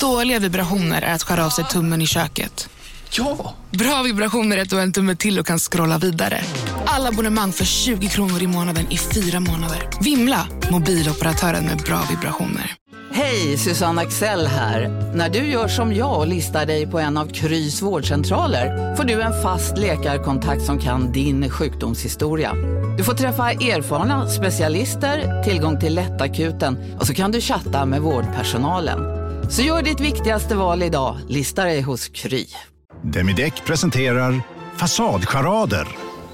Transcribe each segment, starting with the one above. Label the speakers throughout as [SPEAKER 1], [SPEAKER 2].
[SPEAKER 1] Dåliga vibrationer är att skära av sig tummen i köket.
[SPEAKER 2] Ja!
[SPEAKER 1] Bra vibrationer är att du har en tumme till och kan scrolla vidare. Alla abonnemang för 20 kronor i månaden i fyra månader. Vimla! Mobiloperatören med bra vibrationer.
[SPEAKER 3] Hej, Susanne Axel här. När du gör som jag och listar dig på en av Krys vårdcentraler får du en fast läkarkontakt som kan din sjukdomshistoria. Du får träffa erfarna specialister, tillgång till lättakuten och så kan du chatta med vårdpersonalen. Så gör ditt viktigaste val idag, listar dig hos Kry.
[SPEAKER 4] Demideck presenterar Fasadcharader.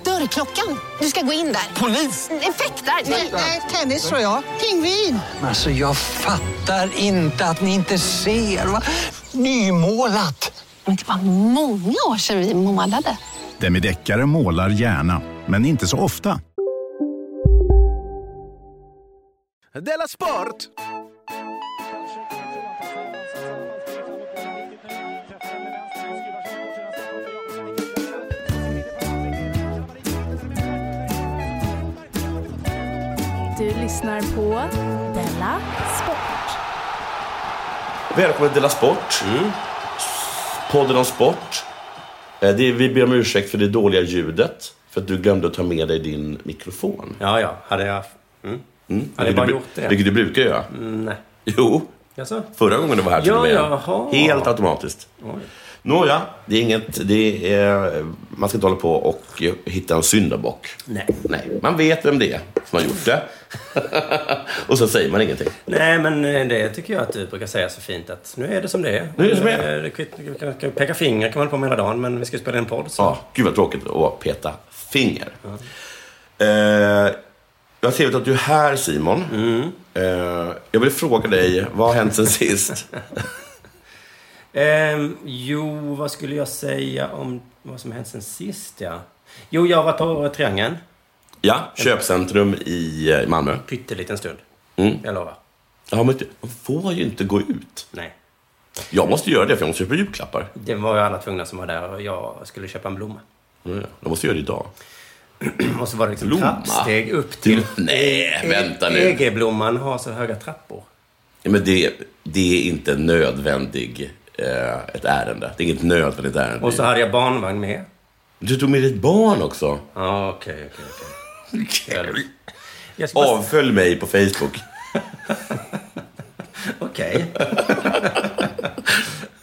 [SPEAKER 5] Dörrklockan. Du ska gå in där.
[SPEAKER 2] Polis!
[SPEAKER 5] Effektar?
[SPEAKER 6] Nej, tennis tror jag. Pingvin.
[SPEAKER 2] Alltså jag fattar inte att ni inte ser. Va? Nymålat!
[SPEAKER 5] Men det var många år sedan vi målade.
[SPEAKER 4] Demideckare målar gärna, men inte så ofta.
[SPEAKER 7] Della Sport!
[SPEAKER 8] Du lyssnar på Della Sport.
[SPEAKER 9] Välkommen till Della Sport. Podden om sport. Eh, Det är, vi ber om ursäkt för det dåliga ljudet. För att du glömde att ta med dig din mikrofon.
[SPEAKER 7] Ja, ja. Hade jag... Mm. Hade jag
[SPEAKER 9] Vilket
[SPEAKER 7] bara
[SPEAKER 9] du,
[SPEAKER 7] gjort det? Mm,
[SPEAKER 9] Vilket du brukar göra.
[SPEAKER 7] Nej.
[SPEAKER 9] Jo,
[SPEAKER 7] Jaså?
[SPEAKER 9] förra gången du var här till
[SPEAKER 7] Ja,
[SPEAKER 9] och med.
[SPEAKER 7] jaha.
[SPEAKER 9] Helt automatiskt. Nåja, det är inget... Det är, man ska inte hålla på och eh, hitta en syndabock.
[SPEAKER 7] Nej.
[SPEAKER 9] Nej, man vet vem det är som har gjort det. och så säger man ingenting.
[SPEAKER 7] Nej, men eh, det tycker jag att du brukar säga så fint att nu är det som det är.
[SPEAKER 9] Nu är det som det är.
[SPEAKER 7] Eh, det kvitt- Vi kan, kan peka finger kan man hålla på med hela dagen, men vi ska ju spela en podd. Så.
[SPEAKER 9] Ja, gud vad tråkigt att peta finger. Eh, jag ser att du är här Simon.
[SPEAKER 7] Mm.
[SPEAKER 9] Eh, jag vill fråga dig, vad har hänt sen sist? Eh,
[SPEAKER 7] Ehm, jo, vad skulle jag säga om vad som hänt sen sist, ja? Jo, jag var på Triangeln.
[SPEAKER 9] ja, köpcentrum i eh, Malmö.
[SPEAKER 7] Pytteliten stund.
[SPEAKER 9] Mm.
[SPEAKER 7] Jag lovar.
[SPEAKER 9] Ja, men du- man får ju inte gå ut.
[SPEAKER 7] Nej.
[SPEAKER 9] Jag måste göra det för jag måste köpa julklappar.
[SPEAKER 7] Det var ju alla tvungna som var där och jag skulle köpa en blomma.
[SPEAKER 9] Mm, ja. Jag måste göra det idag.
[SPEAKER 7] Och så var det liksom
[SPEAKER 9] Blomma?
[SPEAKER 7] trappsteg upp till...
[SPEAKER 9] Nej, vänta nu.
[SPEAKER 7] EG-blomman har så höga trappor.
[SPEAKER 9] Ja, men det, det är inte nödvändig, eh, ett ärende. Det är inget nödvändigt ärende.
[SPEAKER 7] Och så hade jag barnvagn med.
[SPEAKER 9] Du tog med ditt barn också.
[SPEAKER 7] Ja, okej, okej, okej. Okej. Jag ska bara-
[SPEAKER 9] Avfölj mig på Facebook.
[SPEAKER 7] Okej.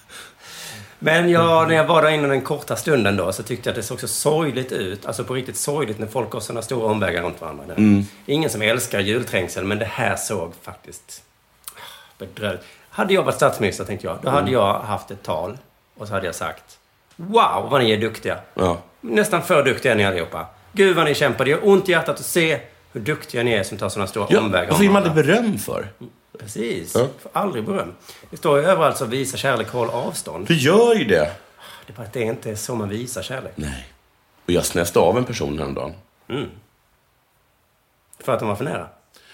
[SPEAKER 7] Men jag, när jag var där inne den korta stunden då så tyckte jag att det såg så sorgligt ut. Alltså på riktigt sorgligt när folk går sådana stora omvägar runt varandra. Det är Ingen som älskar julträngsel men det här såg faktiskt ah, bedrövligt. Hade jag varit statsminister tänkte jag, då hade jag haft ett tal och så hade jag sagt Wow vad ni är duktiga!
[SPEAKER 9] Ja.
[SPEAKER 7] Nästan för duktiga ni allihopa. Gud vad ni kämpar, det gör ont i hjärtat att se hur duktiga ni är som tar sådana stora
[SPEAKER 9] Ja,
[SPEAKER 7] omvägar.
[SPEAKER 9] varför ger
[SPEAKER 7] om
[SPEAKER 9] man
[SPEAKER 7] varandra.
[SPEAKER 9] det beröm för?
[SPEAKER 7] Precis.
[SPEAKER 9] Ja.
[SPEAKER 7] Får aldrig beröm. Det står ju överallt så visa kärlek, håll avstånd.
[SPEAKER 9] Du gör ju det.
[SPEAKER 7] Det är bara att det är inte så man visar kärlek.
[SPEAKER 9] Nej. Och jag snäste av en person häromdagen.
[SPEAKER 7] För att de var för nära.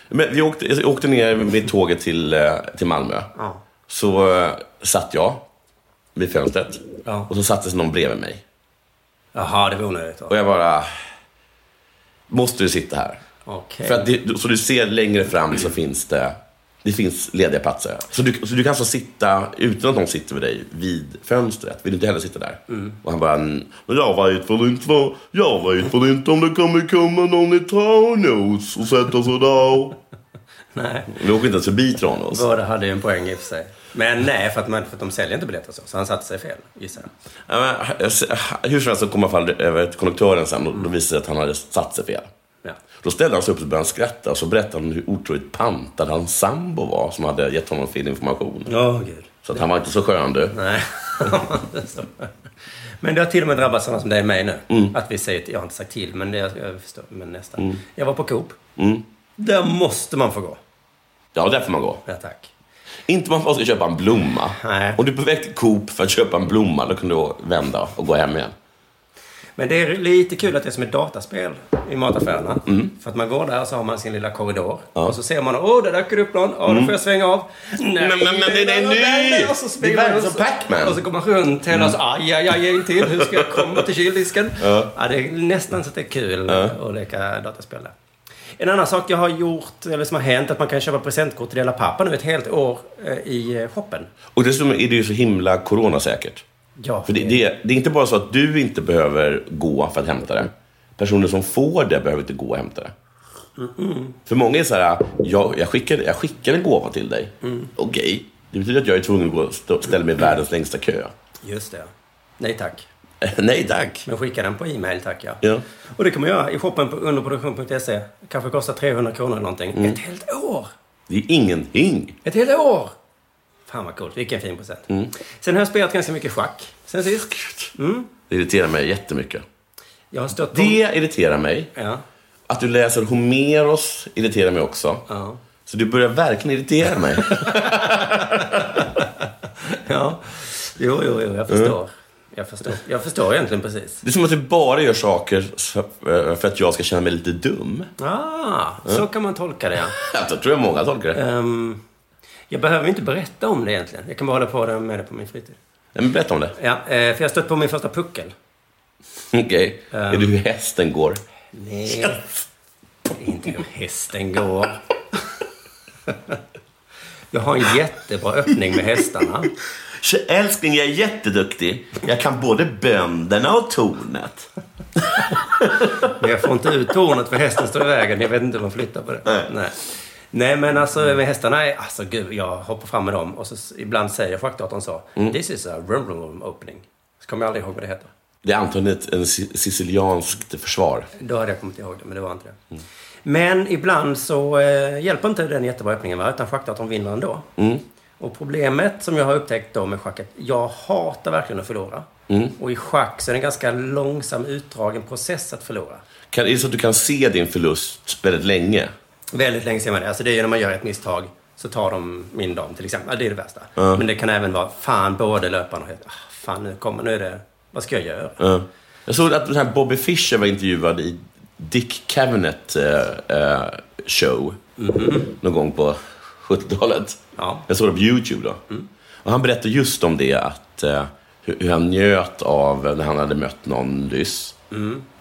[SPEAKER 9] Men vi åkte, jag åkte ner med tåget till, eh, till Malmö.
[SPEAKER 7] Ja.
[SPEAKER 9] Så eh, satt jag vid fönstret.
[SPEAKER 7] Ja.
[SPEAKER 9] Och så satte sig någon bredvid mig.
[SPEAKER 7] Jaha, det var onödigt.
[SPEAKER 9] Och
[SPEAKER 7] Okej.
[SPEAKER 9] jag bara... Måste du sitta här? För att det, så du ser längre fram så finns det, det finns lediga platser. Så du, så du kan alltså sitta, utan att någon sitter med dig, vid fönstret. Vill du inte heller sitta där? Och han bara, "Mm, men jag vet väl inte vad, jag vet väl inte om det kommer komma någon i Tranås och sätta sig där.
[SPEAKER 7] Nej.
[SPEAKER 9] Vi åker inte ens förbi Tranås.
[SPEAKER 7] Båda hade ju en poäng i och för sig. Men nej, för att, man, för att de säljer inte biljetter så. Så han satte sig fel, gissar jag.
[SPEAKER 9] Ja, men, Hur som helst så kom han fall över till konduktören sen och då visade det sig att han hade satt sig fel.
[SPEAKER 7] Ja.
[SPEAKER 9] Då ställde han sig upp och började skratta och så berättade han hur otroligt pantad hans sambo var som hade gett honom fel information.
[SPEAKER 7] Åh, gud.
[SPEAKER 9] Så att han var inte så skön du.
[SPEAKER 7] Nej. Så. men det har till och med drabbat sådana som dig och mig nu. Att vi säger, till- jag har inte sagt till, men det, jag förstår, men nästan. Jag var på Coop. Där måste man få gå.
[SPEAKER 9] Ja, där får man gå.
[SPEAKER 7] Ja, tack.
[SPEAKER 9] Inte man bara ska köpa en blomma.
[SPEAKER 7] Nej.
[SPEAKER 9] Om du är på väg till Coop för att köpa en blomma, då kan du vända och gå hem igen.
[SPEAKER 7] Men det är lite kul att det är som ett dataspel i mataffärerna.
[SPEAKER 9] Mm.
[SPEAKER 7] För att man går där och så har man sin lilla korridor. Och så ser man, åh, där dök det upp någon. Ja, då får jag svänga av. Nej,
[SPEAKER 9] Mm. men, men, det är
[SPEAKER 7] nej,
[SPEAKER 9] ny!
[SPEAKER 7] nej, nej. Och så springer
[SPEAKER 9] Det är
[SPEAKER 7] man
[SPEAKER 9] verkligen
[SPEAKER 7] och
[SPEAKER 9] som
[SPEAKER 7] så-
[SPEAKER 9] Pac-Man. Mm.
[SPEAKER 7] Och så går man runt hela och så, aj, aj, aj, en till. Hur ska jag komma till kyldisken?
[SPEAKER 9] Ja.
[SPEAKER 7] Ja, det är nästan så att det är kul att leka dataspel där. En annan sak jag har gjort, eller som har hänt, att man kan köpa presentkort till hela pappa nu ett helt år eh, i eh, shoppen.
[SPEAKER 9] Och dessutom är det ju så himla coronasäkert.
[SPEAKER 7] Ja,
[SPEAKER 9] För det, det, det är inte bara så att du inte behöver gå för att hämta det. Personer som får det behöver inte gå och hämta det. För många är så här, jag, jag, skickar, jag skickar en gåva till dig.
[SPEAKER 7] Mm.
[SPEAKER 9] Okej, det betyder att jag är tvungen att gå och stå, ställa mig i världens längsta kö.
[SPEAKER 7] Just det. Nej tack.
[SPEAKER 9] Nej tack.
[SPEAKER 7] Men skicka den på e-mail tack ja.
[SPEAKER 9] Ja.
[SPEAKER 7] Och det kan man göra i shoppen på underproduktion.se. Kanske kostar 300 kronor eller någonting.
[SPEAKER 9] Mm.
[SPEAKER 7] Ett helt år!
[SPEAKER 9] Det är ingenting.
[SPEAKER 7] Ett helt år! Fan vad coolt, vilken fin present.
[SPEAKER 9] Mm.
[SPEAKER 7] Sen har jag spelat ganska mycket schack sen sist. Mm.
[SPEAKER 9] Det irriterar mig jättemycket.
[SPEAKER 7] Jag har stött på...
[SPEAKER 9] Det irriterar mig.
[SPEAKER 7] Ja.
[SPEAKER 9] Att du läser Homeros irriterar mig också.
[SPEAKER 7] Ja.
[SPEAKER 9] Så du börjar verkligen irritera mig.
[SPEAKER 7] ja. Jo, jo, jo, jag förstår.
[SPEAKER 9] Mm.
[SPEAKER 7] Jag förstår. Jag förstår egentligen precis.
[SPEAKER 9] Det är som att du bara gör saker så- eh, för att jag ska känna mig lite dum.
[SPEAKER 7] Ah,
[SPEAKER 9] Mm.
[SPEAKER 7] så kan man tolka det ja.
[SPEAKER 9] Alltså, Jag tror jag många tolkar det.
[SPEAKER 7] Ehm, jag behöver inte berätta om det egentligen. Jag kan bara hålla på med det på min fritid.
[SPEAKER 9] Nej, Men berätta om det.
[SPEAKER 7] Ja, eh, för jag har stött på min första puckel.
[SPEAKER 9] Okej. Um. Är du hur hästen går?
[SPEAKER 7] Nej. Det är inte hur hästen går. Jag har en jättebra öppning med hästarna.
[SPEAKER 9] Tje, Älskling, jag är jätteduktig. Jag kan både bönderna och tornet.
[SPEAKER 7] Men jag får inte ut tornet för hästen står i vägen. Jag vet inte hur man flyttar på det. Nej. Nej. men alltså med hästarna, är, alltså gud, jag hoppar fram med dem och så s- ibland säger schackdatorn så. This is a rum rum opening. Så kommer jag aldrig ihåg vad det heter.
[SPEAKER 9] Det är antagligen ett en si- sicilianskt försvar.
[SPEAKER 7] Då hade jag kommit ihåg det, men det var inte det. Men ibland så eh, hjälper inte den jättebra öppningen, va? utan schackdatorn vinner ändå. Och problemet som jag har upptäckt då med schacket, jag hatar verkligen att förlora. Och i schack så är det en ganska långsam, utdragen process att förlora.
[SPEAKER 9] Kan, är det så att du kan se din förlust väldigt länge?
[SPEAKER 7] Väldigt länge ser man det. Alltså det är ju när man gör ett misstag så tar de min dam till exempel. Ja, Det är det värsta.
[SPEAKER 9] Ja.
[SPEAKER 7] Men det kan även vara, fan både löparen och helt, ah, fan nu kommer, nu är det, vad ska jag göra?
[SPEAKER 9] Ja. Jag såg att den här Bobby Fischer var intervjuad i Dick Cavett eh, eh, show någon gång på 70-talet.
[SPEAKER 7] Ja.
[SPEAKER 9] Jag såg det på YouTube då. Och han berättade just om det, att, eh, hur, hur han njöt av när han hade mött någon nyss.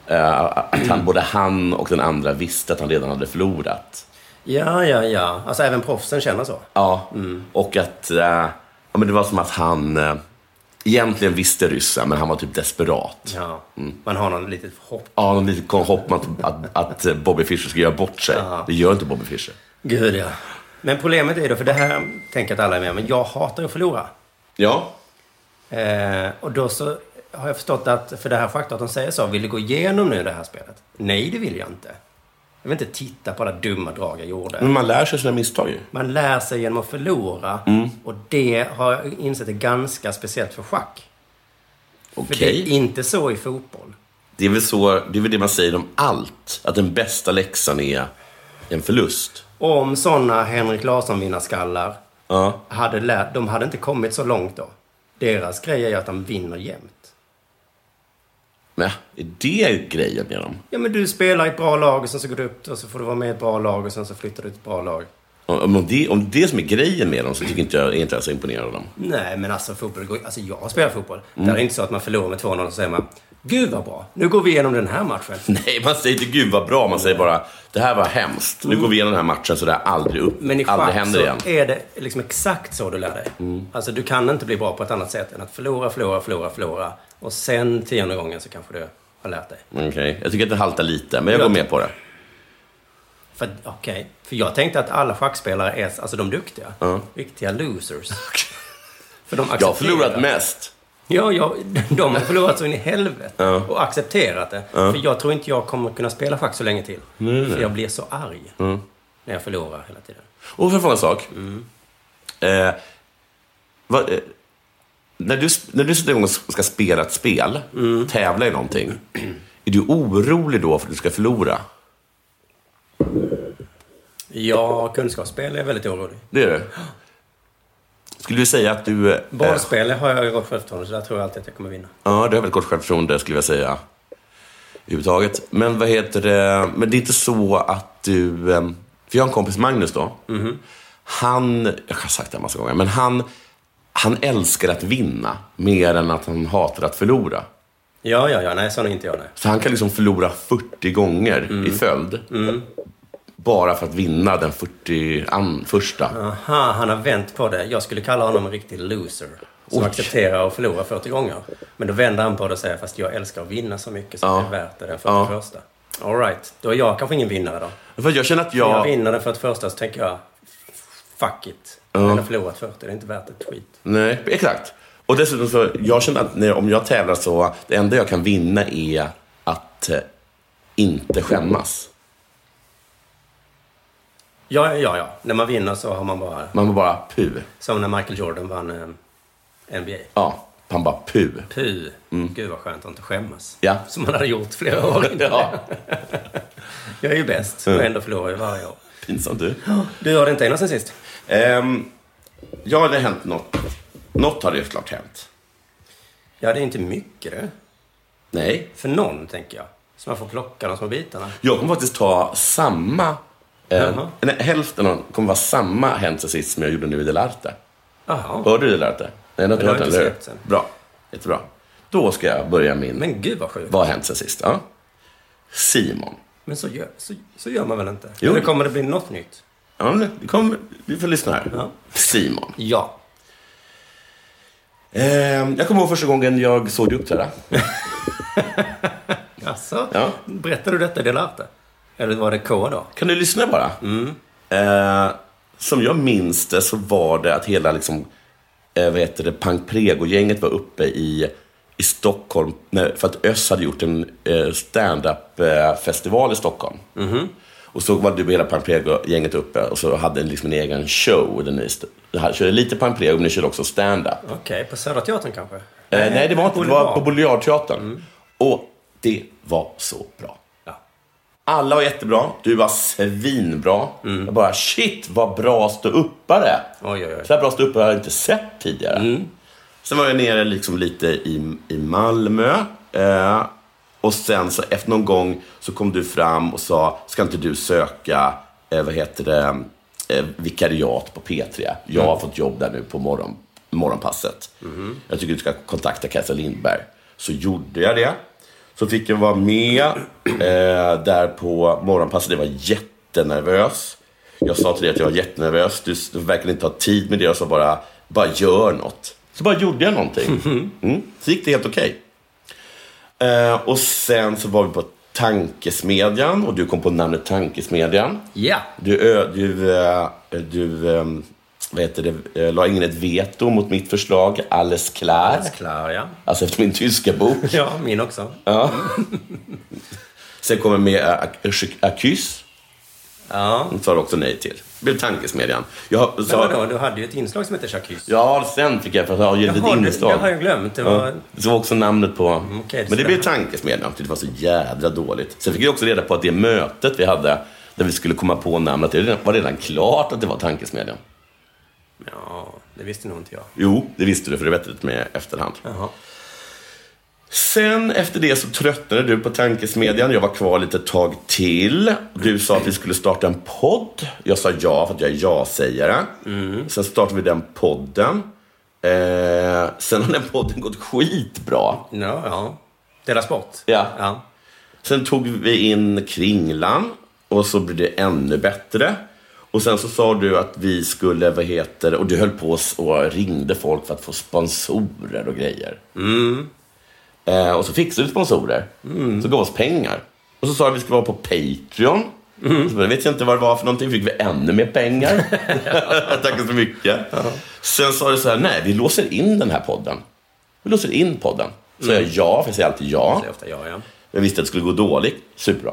[SPEAKER 9] Eh, att han, både han och den andra visste att han redan hade förlorat.
[SPEAKER 7] Ja, ja, ja. Alltså även proffsen känner så.
[SPEAKER 9] Ja, och att eh, ja, men det var som att han eh, egentligen visste ryssen, men han var typ desperat.
[SPEAKER 7] Ja. Man har någon litet hopp.
[SPEAKER 9] Ja, någon liten kon- hopp om att, att, att Bobby Fischer ska göra bort sig. Det gör inte Bobby Fischer.
[SPEAKER 7] Gud ja. Men problemet är då, för det här tänker jag att alla är med om, men jag hatar att förlora.
[SPEAKER 9] Ja.
[SPEAKER 7] Eh, och då så har jag förstått att, för det här schackdatorn säger så, vill du gå igenom nu det här spelet? Nej, det vill jag inte. Jag vill inte titta på alla dumma drag jag gjorde.
[SPEAKER 9] Men man lär sig sina misstag ju.
[SPEAKER 7] Man lär sig genom att förlora. Och det har jag insett är ganska speciellt för schack. För
[SPEAKER 9] Okej.
[SPEAKER 7] det är inte så i fotboll.
[SPEAKER 9] Det, är väl så- det är väl det man säger om allt. Att den bästa läxan är en förlust.
[SPEAKER 7] Om sådana Henrik Larsson-vinnarskallar
[SPEAKER 9] Ja.
[SPEAKER 7] hade lärt... De hade inte kommit så långt då. Deras grej är ju att de vinner jämt.
[SPEAKER 9] Nej, är det grejen med dem?
[SPEAKER 7] Ja, men du spelar i ett bra lag och sen så går du upp och så får du vara med i ett bra lag och sen så flyttar du till ett bra lag.
[SPEAKER 9] Om, om, det, om det som är grejen med dem så tycker inte jag, är inte jag så imponerad av dem.
[SPEAKER 7] Nej, men alltså fotboll går... Alltså jag spelar fotboll.
[SPEAKER 9] Mm.
[SPEAKER 7] Där är det inte så att man förlorar med 2-0 och så säger man Gud vad bra, nu går vi igenom den här matchen.
[SPEAKER 9] Nej, man säger inte gud vad bra. Man säger bara det här var hemskt. Nu går vi igenom den här matchen så det här aldrig, upp,
[SPEAKER 7] Mm. Men i
[SPEAKER 9] aldrig
[SPEAKER 7] schack
[SPEAKER 9] händer
[SPEAKER 7] så
[SPEAKER 9] igen. Mm.
[SPEAKER 7] är det liksom exakt så du lär dig. Alltså du kan inte bli bra på ett annat sätt än att förlora, förlora, förlora, förlora. Och sen tionde gången så kanske du har lärt dig.
[SPEAKER 9] Okej, jag tycker att det haltar lite, men jag går med på det.
[SPEAKER 7] För, okej. För jag tänkte att alla schackspelare är alltså de duktiga. Riktiga losers. För de
[SPEAKER 9] Jag
[SPEAKER 7] accepterar-
[SPEAKER 9] har förlorat mest.
[SPEAKER 7] Ja, jag, de har förlorat så in i helvete. Och accepterat det. För jag tror inte jag kommer kunna spela schack så länge till. För jag blir så arg.
[SPEAKER 9] Mm.
[SPEAKER 7] När jag förlorar hela tiden.
[SPEAKER 9] Och för en sak. Eh, vad, eh, när, du, sp- när du sätter igång och s- ska spela ett spel, tävla i någonting, är du orolig då för att du ska förlora?
[SPEAKER 7] Ja, kunskapsspel är jag väldigt orolig.
[SPEAKER 9] Det är du? Skulle du säga att du... eh,
[SPEAKER 7] Bollspel har jag ju gott självförtroende, så där tror jag alltid att jag kommer vinna.
[SPEAKER 9] Ja, du har väldigt gott självförtroende skulle jag säga. Överhuvudtaget. Men vad heter det? Men det är inte så att du... eh, För jag har en kompis, Magnus då.
[SPEAKER 7] Mhm.
[SPEAKER 9] Han, jag har sagt det här massa gånger, men han, han älskar att vinna mer än att han hatar att förlora.
[SPEAKER 7] Ja, ja, ja. Nej, sån är inte jag. Nej. Mm.
[SPEAKER 9] Så han kan liksom förlora 40 gånger i följd. bara för att vinna den 40 an, första.
[SPEAKER 7] Aha, han har vänt på det. Jag skulle kalla honom en riktig loser. Som
[SPEAKER 9] Oj.
[SPEAKER 7] accepterar att förlora 40 gånger. Men då vänder han på det och säger, fast jag älskar att vinna så mycket så
[SPEAKER 9] Ja.
[SPEAKER 7] det är värt det den
[SPEAKER 9] Ja.
[SPEAKER 7] 41. All right, då är jag kanske ingen vinnare då.
[SPEAKER 9] För jag känner att
[SPEAKER 7] När jag
[SPEAKER 9] jag...
[SPEAKER 7] vinner den 41 så tänker jag, fuck it. Jag har förlorat 40, det är inte värt ett skit.
[SPEAKER 9] Nej, exakt. Och dessutom så, jag känner att när, om jag tävlar så, det enda jag kan vinna är att eh, inte skämmas.
[SPEAKER 7] Ja, ja, ja. När man vinner så har man bara...
[SPEAKER 9] Man bara, pu.
[SPEAKER 7] Som när Michael Jordan vann eh, NBA.
[SPEAKER 9] Ja, han bara, pu.
[SPEAKER 7] Puh, gud vad skönt att inte skämmas.
[SPEAKER 9] Mm. Ja.
[SPEAKER 7] Som man hade gjort flera år innan.
[SPEAKER 9] Ja, Mm.
[SPEAKER 7] Jag är ju bäst, men ändå förlorar jag varje år.
[SPEAKER 9] pinsamt du.
[SPEAKER 7] Du har det inte innan sen sist?
[SPEAKER 9] Ehm, ja, det har hänt något. Något har det ju klart hänt.
[SPEAKER 7] Ja, det är inte mycket det.
[SPEAKER 9] Nej.
[SPEAKER 7] För någon, tänker jag. Så man får plocka de små bitarna.
[SPEAKER 9] Jag kommer faktiskt ta samma... eh,
[SPEAKER 7] Jaha.
[SPEAKER 9] nej, hälften av kommer vara samma hänt sen sist som jag gjorde nu i Delarte.
[SPEAKER 7] Jaha.
[SPEAKER 9] Hörde du Delarte? Nej, du har inte
[SPEAKER 7] jag har
[SPEAKER 9] hört den,
[SPEAKER 7] inte
[SPEAKER 9] eller hur?
[SPEAKER 7] sett den.
[SPEAKER 9] Bra. Jättebra. Då ska jag börja min...
[SPEAKER 7] Men gud vad sjukt.
[SPEAKER 9] Vad har hänt sen sist? Ja. Simon.
[SPEAKER 7] Men så gör, så, så gör man väl inte?
[SPEAKER 9] Jo.
[SPEAKER 7] Eller kommer det bli något nytt?
[SPEAKER 9] Ja, men det kommer, vi får lyssna här.
[SPEAKER 7] Ja.
[SPEAKER 9] Simon.
[SPEAKER 7] Ja.
[SPEAKER 9] Ehm, jag kommer ihåg första gången jag såg dig uppträda.
[SPEAKER 7] Alltså,
[SPEAKER 9] Ja.
[SPEAKER 7] Berättar du detta i Delarte? Eller var det K då?
[SPEAKER 9] Kan du lyssna bara? Eh, som jag minns det så var det att hela liksom, eh, vad heter det, Pank-Prego-gänget var uppe i, i Stockholm när, för att Öss hade gjort en eh, stand-up-festival i Stockholm. Och så var du hela Pank-Prego-gänget uppe och så hade ni liksom en egen show. Där ni st- här, körde lite Pank-Prego men ni körde också stand-up.
[SPEAKER 7] Okej, på Södra Teatern kanske?
[SPEAKER 9] Eh, nej, det var inte. Det var
[SPEAKER 7] Boulevard.
[SPEAKER 9] på Boulevardteatern. Och det var så bra.
[SPEAKER 7] Ja.
[SPEAKER 9] Alla var jättebra. Du var svinbra. Jag bara, shit vad bra ståuppare.
[SPEAKER 7] Oj, oj, oj.
[SPEAKER 9] Så här bra ståuppare har jag inte sett tidigare. Mm. Sen var jag nere liksom lite i, i Malmö. Eh, och sen så efter någon gång så kom du fram och sa, ska inte du söka, eh, vad heter det, eh, vikariat på P3? Jag har fått jobb där nu på morgon, morgonpasset. Jag tycker du ska kontakta Kajsa Lindberg. Så gjorde jag det. Så fick jag vara med eh, där på morgonpasset. Jag var jättenervös. Jag sa till dig att jag var jättenervös. Du, du verkar inte ha tid med det. Jag sa bara, bara gör något. Så bara gjorde jag någonting. Mm. Så gick det helt okej. Eh, och sen så var vi på Tankesmedjan och du kom på namnet Tankesmedjan.
[SPEAKER 7] Ja.
[SPEAKER 9] Du, ö, du, eh, du eh, vad heter det, eh, la in ett veto mot mitt förslag, alles klar.
[SPEAKER 7] Alles klar, ja.
[SPEAKER 9] Alltså efter min tyska bok.
[SPEAKER 7] Ja, min också.
[SPEAKER 9] Sen kommer med eh, ak- Akys.
[SPEAKER 7] Ja.
[SPEAKER 9] Hon sa också nej till. Det blev Tankesmedjan. Jag
[SPEAKER 7] Men vadå,
[SPEAKER 9] sa,
[SPEAKER 7] du hade ju ett inslag som hette Chacuse.
[SPEAKER 9] ja, sen fick jag för att jag gett ett
[SPEAKER 7] Jaha, det, det
[SPEAKER 9] inslag.
[SPEAKER 7] har jag glömt. Det var...
[SPEAKER 9] Ja, det var också namnet på...
[SPEAKER 7] okej, det
[SPEAKER 9] men det
[SPEAKER 7] stämmer.
[SPEAKER 9] blev tankesmedjan, för det var så jädra dåligt. Sen fick jag också reda på att det mötet vi hade, där vi skulle komma på namnet, det var redan klart att det var tankesmedjan.
[SPEAKER 7] Ja, det visste nog inte jag.
[SPEAKER 9] Jo, det visste du, för det berättade du med i efterhand.
[SPEAKER 7] Jaha.
[SPEAKER 9] Sen efter det så tröttnade du på tankesmedjan. Jag var kvar lite tag till. Du sa att vi skulle starta en podd. Jag sa ja för att jag är ja-sägare. Sen startade vi den podden. Eh, sen har den podden gått skitbra.
[SPEAKER 7] Ja, ja. Dela Sport?
[SPEAKER 9] Ja.
[SPEAKER 7] ja.
[SPEAKER 9] Sen tog vi in Kringlan och så blev det ännu bättre. Och sen så sa du att vi skulle, vad heter det, och du höll på s- och ringde folk för att få sponsorer och grejer. Eh, och så fixade du sponsorer. Så gav oss pengar. Och så sa du att vi skulle vara på Patreon. Så bara, vet jag inte vad det var för någonting. Fick vi ännu mer pengar. Tack så mycket. Sen sa du så här, nej, vi låser in den här podden. Vi låser in podden. Så jag ja, för jag säger alltid ja.
[SPEAKER 7] Det är ofta jag, ja.
[SPEAKER 9] Jag visste att det skulle gå dåligt. Superbra.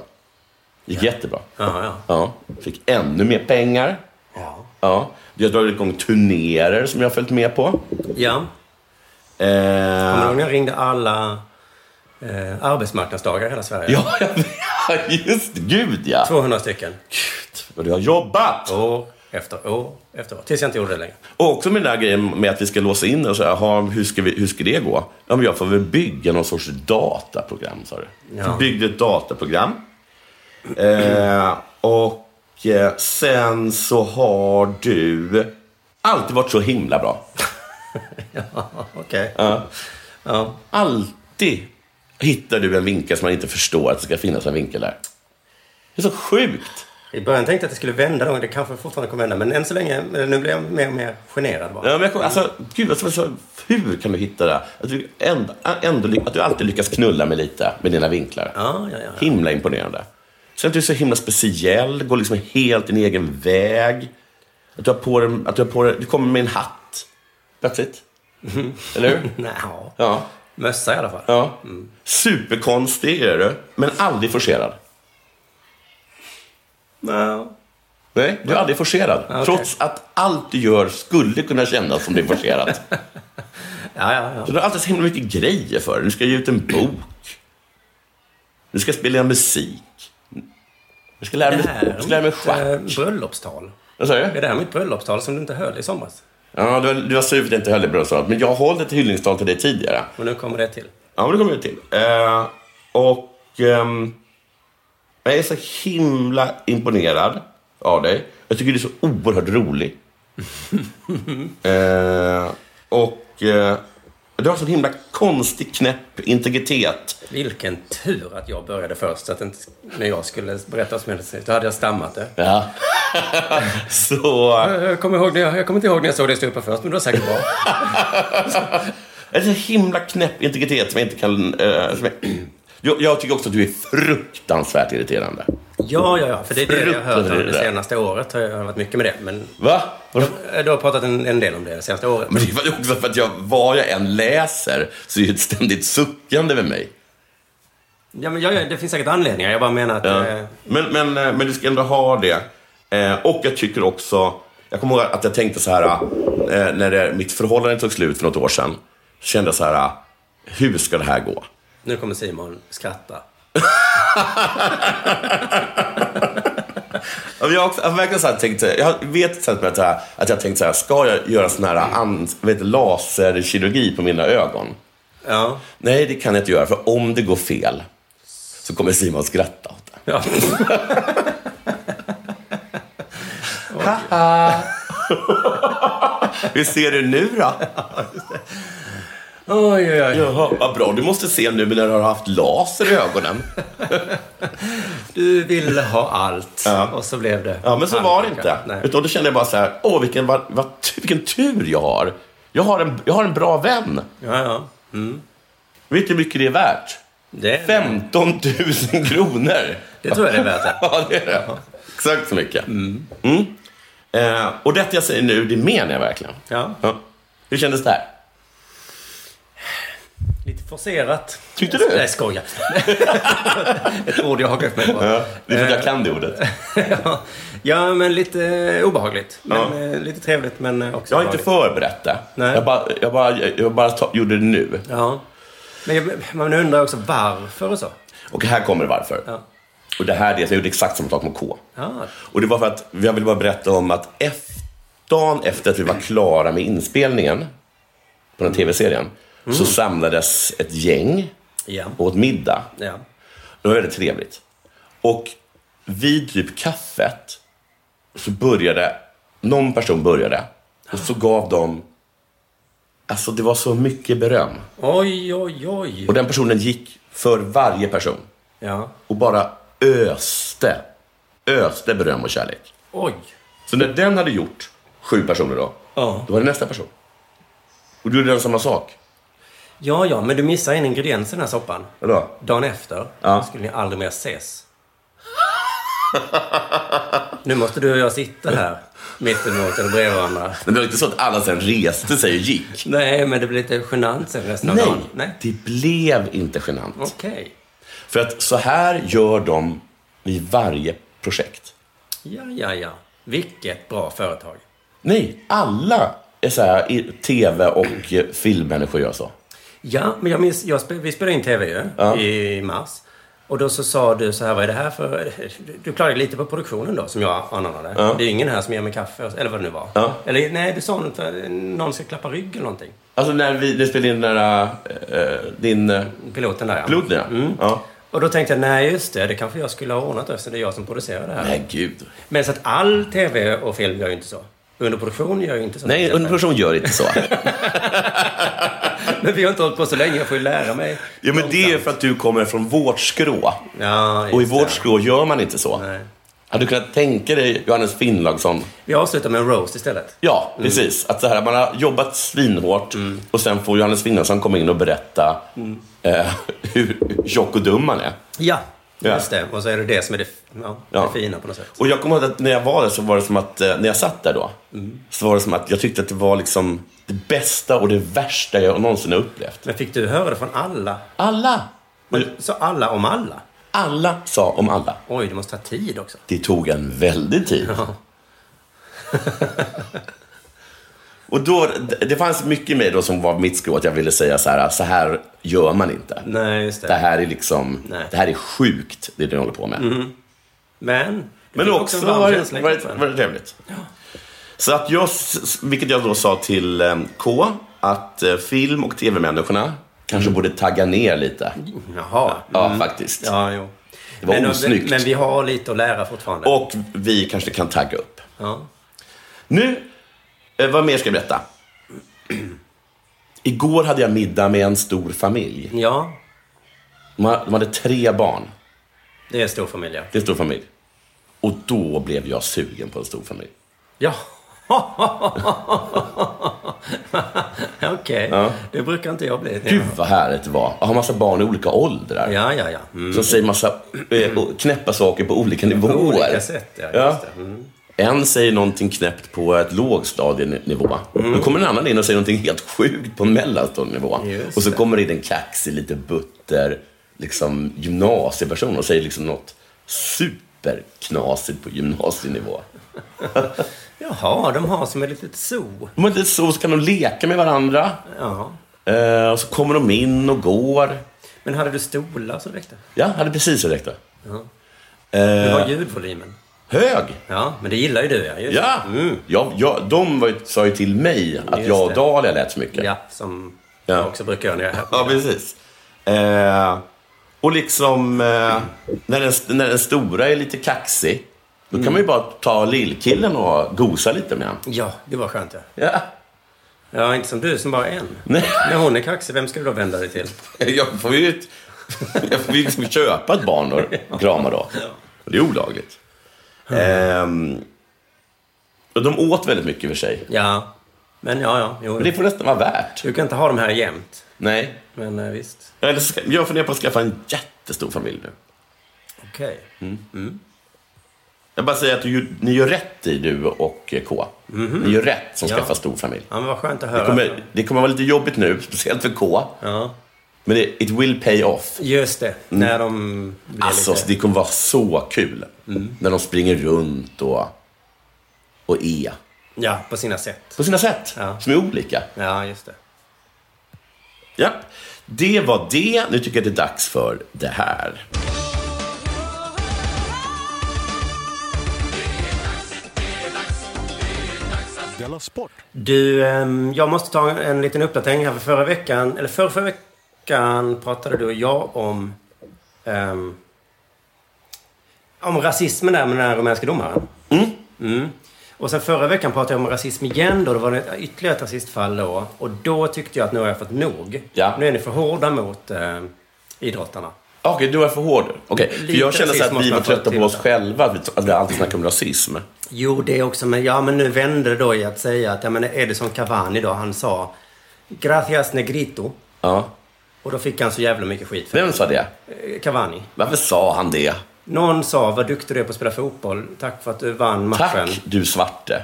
[SPEAKER 9] gick jättebra.
[SPEAKER 7] Ja, ja.
[SPEAKER 9] Ja. Fick ännu mer pengar.
[SPEAKER 7] Ja.
[SPEAKER 9] Ja. Jag drar igång turnéer som jag har följt med på.
[SPEAKER 7] ja.
[SPEAKER 9] Eh,
[SPEAKER 7] Kommer du ihåg när jag ringde alla eh, arbetsmarknadsdagar i hela Sverige?
[SPEAKER 9] ja, jag vet. Just det. Gud, ja.
[SPEAKER 7] 200 stycken.
[SPEAKER 9] Gud, vad du har jobbat!
[SPEAKER 7] År efter år efter år. Tills jag inte gjorde det längre.
[SPEAKER 9] Och också med den där grejen med att vi ska låsa in och så här, "Jaha, hur, ska vi, hur ska det gå? Ja, men jag får väl bygga någon sorts dataprogram, sa du.
[SPEAKER 7] Ja.
[SPEAKER 9] Byggde ett dataprogram. Eh, och eh, sen så har du alltid varit så himla bra.
[SPEAKER 7] Okej.
[SPEAKER 9] Alltid hittar du en vinkel som man inte förstår att det ska finnas en vinkel där. Det är så sjukt.
[SPEAKER 7] I början tänkte jag att det skulle vända någon gång. Det kanske fortfarande kommer vända. Men än så länge, men nu blir jag mer och mer generad bara.
[SPEAKER 9] Ja, men jag kommer, alltså, gud, alltså, alltså, hur kan du hitta det? Att du, ändå, ändå, ly- att du alltid lyckas knulla mig lite med dina vinklar.
[SPEAKER 7] Ja, ja, ja, ja.
[SPEAKER 9] Himla imponerande. Sen att du är så himla speciell, går liksom helt din egen väg. Att du har på dig, att du, har på dig, du kommer med en hatt plötsligt.
[SPEAKER 7] Mm-hmm.
[SPEAKER 9] Eller hur?
[SPEAKER 7] Nej, ja.
[SPEAKER 9] Ja.
[SPEAKER 7] Mössa i alla fall.
[SPEAKER 9] ja. Mm. Superkonstig är du, men aldrig forcerad.
[SPEAKER 7] Ja.
[SPEAKER 9] Nej, du är aldrig forcerad. Trots att allt du gör skulle kunna kännas som det är forcerat.
[SPEAKER 7] Ja, ja, ja.
[SPEAKER 9] Så du har alltid så himla mycket grejer för dig. Du ska ge ut en bok. Du ska spela musik. Du ska lära
[SPEAKER 7] Det
[SPEAKER 9] mig,
[SPEAKER 7] här
[SPEAKER 9] du ska lära mig
[SPEAKER 7] är
[SPEAKER 9] schack.
[SPEAKER 7] mitt eh, bröllopstal.
[SPEAKER 9] Vad sa
[SPEAKER 7] Är
[SPEAKER 9] du?
[SPEAKER 7] det här mitt bröllopstal som du inte höll i somras?
[SPEAKER 9] Ja, du, du var sur för att jag inte höll det bra svaret. Men jag har hållit ett hyllningstal till dig tidigare.
[SPEAKER 7] Och nu kommer det till.
[SPEAKER 9] Ja, men det kommer jag till. Eh, och ehm, jag är så himla imponerad av dig. Jag tycker du är så oerhört rolig. Eh, och eh, du har så himla konstig, knäpp integritet.
[SPEAKER 7] Vilken tur att jag började först. Så att inte, när jag skulle berätta vad som hände, då hade jag stammat det.
[SPEAKER 9] Ja. så... eh,
[SPEAKER 7] Jag, jag, kommer ihåg när jag, jag kommer inte ihåg när jag såg dig stå upp här först, men det var säkert bra.
[SPEAKER 9] En så himla knäpp integritet som jag inte kan... eh, som jag, jag, jag tycker också att du är fruktansvärt irriterande.
[SPEAKER 7] Ja, ja, ja. För det är det jag har hört om
[SPEAKER 9] Fruktansvärt.
[SPEAKER 7] det senaste året. Har jag varit mycket med det. Men
[SPEAKER 9] Va?
[SPEAKER 7] du har pratat en, en del om det det senaste året.
[SPEAKER 9] Men det var ju också för att jag, vad jag än läser så är det ett ständigt suckande med mig.
[SPEAKER 7] Ja, men jag, jag- det finns säkert anledningar. Jag bara menar att...
[SPEAKER 9] Ja.
[SPEAKER 7] eh,
[SPEAKER 9] Men, men, eh, men du ska ändå ha det. Eh, och jag tycker också, jag kommer ihåg att jag tänkte så här, eh, när det, mitt förhållande tog slut för något år sedan, så kände jag så här, hur ska det här gå?
[SPEAKER 7] Nu kommer Simon skratta.
[SPEAKER 9] Ja, men Jag har, också, jag har verkligen så här tänkt, jag vet till exempel att jag, att jag tänkt så här, ska jag göra sån här an, vet, laserkirurgi på mina ögon?
[SPEAKER 7] Ja.
[SPEAKER 9] Nej, det kan jag inte göra, för om det går fel så kommer Simon skratta åt det.
[SPEAKER 7] ja.
[SPEAKER 9] Hur ser du nu då?
[SPEAKER 7] Oj, oj, oj.
[SPEAKER 9] Jaha, vad bra, du måste se nu när du har haft laser i ögonen.
[SPEAKER 7] Du ville ha allt.
[SPEAKER 9] Ja.
[SPEAKER 7] Och så blev det.
[SPEAKER 9] Ja, men så var det inte.
[SPEAKER 7] pannkaka. Nej.
[SPEAKER 9] Utan då kände jag bara så här, åh, vilken, vad, vad, vilken tur jag har. Jag har, en, jag har en bra vän.
[SPEAKER 7] Ja, ja. Mm.
[SPEAKER 9] Vet du hur mycket det är värt?
[SPEAKER 7] Det,
[SPEAKER 9] 15 000 kronor.
[SPEAKER 7] det tror jag det är värt det.
[SPEAKER 9] Ja, det är det. Exakt så mycket. Mm. Eh, och detta jag säger nu, det menar jag verkligen.
[SPEAKER 7] Ja.
[SPEAKER 9] Hur kändes det här?
[SPEAKER 7] Lite forcerat.
[SPEAKER 9] Tyckte du?
[SPEAKER 7] Nej, skoja. Ett ord jag hakar upp mig på.
[SPEAKER 9] Det är för att
[SPEAKER 7] Eh,
[SPEAKER 9] jag kan det ordet.
[SPEAKER 7] Ja. ja, men lite eh, obehagligt. Men,
[SPEAKER 9] Ja.
[SPEAKER 7] eh, Lite trevligt, men eh, också
[SPEAKER 9] Jag har inte
[SPEAKER 7] obehagligt.
[SPEAKER 9] förberett det.
[SPEAKER 7] Nej.
[SPEAKER 9] Jag bara, jag bara, jag bara ta, gjorde det nu.
[SPEAKER 7] Ja. Men jag, man undrar också varför och så.
[SPEAKER 9] Och här kommer varför.
[SPEAKER 7] Ja.
[SPEAKER 9] Och det här är det, jag gjorde exakt samma sak med K.
[SPEAKER 7] Ja.
[SPEAKER 9] Och det var för att, jag vill bara berätta om att efter, dagen efter att vi var klara med inspelningen på den här tv-serien, så
[SPEAKER 7] Mm.
[SPEAKER 9] samlades ett gäng
[SPEAKER 7] Ja.
[SPEAKER 9] och åt middag.
[SPEAKER 7] ja.
[SPEAKER 9] Det var väldigt trevligt. Och vid typ kaffet så började, någon person började och så gav de, alltså det var så mycket beröm.
[SPEAKER 7] Oj, oj, oj.
[SPEAKER 9] Och den personen gick för varje person
[SPEAKER 7] Ja.
[SPEAKER 9] och bara öste, öste beröm och kärlek.
[SPEAKER 7] Oj.
[SPEAKER 9] Så när den hade gjort sju personer då,
[SPEAKER 7] Ja.
[SPEAKER 9] då var det nästa person. Och då gjorde den samma sak.
[SPEAKER 7] Ja, ja, men du missar en ingrediens i den här soppan.
[SPEAKER 9] Vadå?
[SPEAKER 7] Dagen efter
[SPEAKER 9] Ja.
[SPEAKER 7] skulle ni aldrig mer ses. nu måste du och jag sitta här mittemot eller bredvid varandra.
[SPEAKER 9] Men det var inte så att alla sen reste sig och gick.
[SPEAKER 7] Nej, men det blir lite genant sen resten av dagen. Nej.
[SPEAKER 9] det blev inte genant.
[SPEAKER 7] Okej.
[SPEAKER 9] För att så här gör de i varje projekt.
[SPEAKER 7] Ja, ja, ja. Vilket bra företag.
[SPEAKER 9] Nej, alla är så här, i tv och eh, filmmänniskor gör så.
[SPEAKER 7] Ja, men jag minns, jag spe, vi spelade in TV ju i mars. Och då så sa du så här, vad är det här för... Du- Du klagade lite på produktionen då, som jag ananade. Det är ju ingen här som ger mig kaffe, eller vad det nu var.
[SPEAKER 9] Ja.
[SPEAKER 7] Eller nej, du sa något, eh, någon ska klappa rygg eller någonting.
[SPEAKER 9] Alltså när vi när vi spelade in den där, eh, din eh,
[SPEAKER 7] Piloten där ja.
[SPEAKER 9] pilot nu, ja. ja.
[SPEAKER 7] Och då tänkte jag, nej just det, det kanske jag skulle ha ordnat eftersom det är jag som producerar det här.
[SPEAKER 9] Nej, gud.
[SPEAKER 7] Men så att all TV och film gör ju inte så. Underproduktion gör ju inte så.
[SPEAKER 9] Nej, en person gör inte så.
[SPEAKER 7] Men vi har inte hållit på så länge, jag får ju lära mig.
[SPEAKER 9] Ja, men det är för att du kommer från vårt skrå.
[SPEAKER 7] Ja,
[SPEAKER 9] Och i
[SPEAKER 7] just
[SPEAKER 9] vårt
[SPEAKER 7] det.
[SPEAKER 9] skrå gör man inte så.
[SPEAKER 7] Nej.
[SPEAKER 9] Hade du kunnat tänka dig Johannes Finnlaugsson?
[SPEAKER 7] Vi avslutar med en roast istället.
[SPEAKER 9] Ja, precis. Att så här, man har jobbat svinhårt och sen får Johannes Finnlaugsson komma in och berätta eh, hur tjock och dum man är.
[SPEAKER 7] Ja,
[SPEAKER 9] Ja.
[SPEAKER 7] just det. Och så är det det som är det, ja,
[SPEAKER 9] Ja.
[SPEAKER 7] det fina på något sätt.
[SPEAKER 9] Och jag kommer ihåg att när jag var där så var det som att, eh, när jag satt där då, så var det som att jag tyckte att det var liksom det bästa och det värsta jag någonsin har upplevt.
[SPEAKER 7] Men fick du höra det från alla?
[SPEAKER 9] Alla!
[SPEAKER 7] Men, så alla om alla?
[SPEAKER 9] Alla sa om alla.
[SPEAKER 7] Oj, det måste ta tid också.
[SPEAKER 9] Det tog en väldig tid. och då, det- det fanns mycket i mig då som var mitt skrå, att jag ville säga så här, så här gör man inte.
[SPEAKER 7] Nej, just det.
[SPEAKER 9] Det här är liksom,
[SPEAKER 7] Nej.
[SPEAKER 9] det här är sjukt, det du håller på med.
[SPEAKER 7] Men, det
[SPEAKER 9] Men
[SPEAKER 7] fick
[SPEAKER 9] också
[SPEAKER 7] en varm
[SPEAKER 9] var
[SPEAKER 7] känsla
[SPEAKER 9] det,
[SPEAKER 7] i
[SPEAKER 9] var det,
[SPEAKER 7] kroppen.
[SPEAKER 9] var det trevligt. Så att jag, s- s- vilket jag då sa till eh, K, att eh, film och tv-människorna
[SPEAKER 7] Mm.
[SPEAKER 9] kanske borde tagga ner lite.
[SPEAKER 7] Jaha.
[SPEAKER 9] Ja, faktiskt.
[SPEAKER 7] Mm. Ja, jo.
[SPEAKER 9] Det var
[SPEAKER 7] men,
[SPEAKER 9] osnyggt.
[SPEAKER 7] Men vi har lite att lära fortfarande.
[SPEAKER 9] Och vi kanske kan tagga upp.
[SPEAKER 7] Ja.
[SPEAKER 9] Nu, eh, vad mer ska jag berätta? Igår hade jag middag med en stor familj.
[SPEAKER 7] ja,
[SPEAKER 9] De ha- de hade tre barn.
[SPEAKER 7] det är en stor familj. ja.
[SPEAKER 9] Det är en stor familj. Och då blev jag sugen på en stor familj.
[SPEAKER 7] Ja. Okej, det brukar inte jag bli.
[SPEAKER 9] Gud vad härligt det var. Att ha massa barn i olika åldrar.
[SPEAKER 7] Ja, ja, ja. Mm.
[SPEAKER 9] Som säger massa eh, och knäppa saker på olika nivåer.
[SPEAKER 7] På olika sätt, ja. Just
[SPEAKER 9] Ja.
[SPEAKER 7] Det. Mm.
[SPEAKER 9] En säger någonting knäppt på ett lågstadienivå.
[SPEAKER 7] Mm.
[SPEAKER 9] Då kommer en annan in och säger någonting helt sjukt på en mellanstadienivå.
[SPEAKER 7] Just
[SPEAKER 9] Och så
[SPEAKER 7] det.
[SPEAKER 9] kommer det in en kaxig, lite butter liksom, gymnasieperson och säger liksom något superknasigt på gymnasienivå.
[SPEAKER 7] Jaha, de har som ett litet zoo.
[SPEAKER 9] Men det är så, så kan de leka med varandra.
[SPEAKER 7] Ja.
[SPEAKER 9] Eh, och så kommer de in och går.
[SPEAKER 7] Men hade du stolar så räckte?
[SPEAKER 9] Ja, hade precis så räckt.
[SPEAKER 7] Ja. Det
[SPEAKER 9] Eh,
[SPEAKER 7] var ljudvolymen.
[SPEAKER 9] hög!
[SPEAKER 7] Ja, men det gillar ju du ja. Just.
[SPEAKER 9] Ja!
[SPEAKER 7] Mm.
[SPEAKER 9] ja, ja de var, ju- sa ju till mig att
[SPEAKER 7] Just
[SPEAKER 9] jag och
[SPEAKER 7] det.
[SPEAKER 9] Dahlia lät så mycket.
[SPEAKER 7] Ja, som
[SPEAKER 9] Ja.
[SPEAKER 7] jag också brukar göra när jag är här.
[SPEAKER 9] Ja, precis. Eh, och liksom, eh, när, den, när den stora är lite kaxig, då
[SPEAKER 7] Mm.
[SPEAKER 9] kan man ju bara ta lillkillen och gosa lite med honom.
[SPEAKER 7] Ja, det var skönt ja.
[SPEAKER 9] Ja.
[SPEAKER 7] Ja, inte som du som bara är en.
[SPEAKER 9] Nej,
[SPEAKER 7] När hon är kaxig, vem ska du då vända dig till?
[SPEAKER 9] jag får ju, ett, jag får ju liksom köpa ett barn då, och krama då. Och Det är olagligt. Ehm, och de åt väldigt mycket i och för sig.
[SPEAKER 7] Ja, men ja, ja. Jo.
[SPEAKER 9] Men det får nästan vara värt.
[SPEAKER 7] Du kan inte ha dem här jämt.
[SPEAKER 9] Nej.
[SPEAKER 7] Men eh, visst.
[SPEAKER 9] Eller ska, jag funderar på att skaffa en jättestor familj nu.
[SPEAKER 7] Okej.
[SPEAKER 9] Jag bara säger att du, ni gör rätt i, du och eh, K. Ni gör rätt som
[SPEAKER 7] Mhm. Ja.
[SPEAKER 9] skaffar stor familj.
[SPEAKER 7] Ja, men vad skönt att
[SPEAKER 9] Det
[SPEAKER 7] höra.
[SPEAKER 9] kommer, det kommer vara lite jobbigt nu, speciellt för K.
[SPEAKER 7] Ja,
[SPEAKER 9] Men det, it will pay off.
[SPEAKER 7] just det. När de blir
[SPEAKER 9] Mm. Alltså,
[SPEAKER 7] lite... Mm.
[SPEAKER 9] det kommer vara så kul. När de springer runt och, och är.
[SPEAKER 7] Ja, på sina sätt.
[SPEAKER 9] På sina sätt,
[SPEAKER 7] Ja.
[SPEAKER 9] som är olika.
[SPEAKER 7] Ja, just det.
[SPEAKER 9] Ja. Det var det. Nu tycker jag det är dags för det här.
[SPEAKER 10] Della Sport.
[SPEAKER 7] Du, ehm, jag måste ta en liten uppdatering här. För förra veckan, eller förra, förra veckan pratade du och jag om... ehm, om rasismen där med den här rumänska domaren. Mm. Och sen förra veckan pratade jag om rasism igen då. Då var det ett- ytterligare ett rasistfall då. Och då tyckte jag att nu har jag fått nog.
[SPEAKER 9] Ja.
[SPEAKER 7] Nu är ni för hårda mot eh, idrottarna.
[SPEAKER 9] Okej, du var för hård. Okej, För
[SPEAKER 7] Lite
[SPEAKER 9] jag kände så
[SPEAKER 7] rasism
[SPEAKER 9] här att
[SPEAKER 7] måste
[SPEAKER 9] vi var
[SPEAKER 7] man få
[SPEAKER 9] trötta
[SPEAKER 7] till
[SPEAKER 9] på oss
[SPEAKER 7] det.
[SPEAKER 9] själva, att vi, att vi alltid snackar om rasism.
[SPEAKER 7] Jo, det också. Men, ja, men nu vände det då i att säga att ja, men Edison Cavani då, han sa “Gracias negrito”
[SPEAKER 9] Ja.
[SPEAKER 7] och då fick han så jävla mycket skit för
[SPEAKER 9] Vem sa det?
[SPEAKER 7] det. Eh, Cavani.
[SPEAKER 9] Varför sa han det?
[SPEAKER 7] Någon sa “Vad duktig du är på att spela fotboll. Tack för att du vann matchen”.
[SPEAKER 9] Tack, du svarte.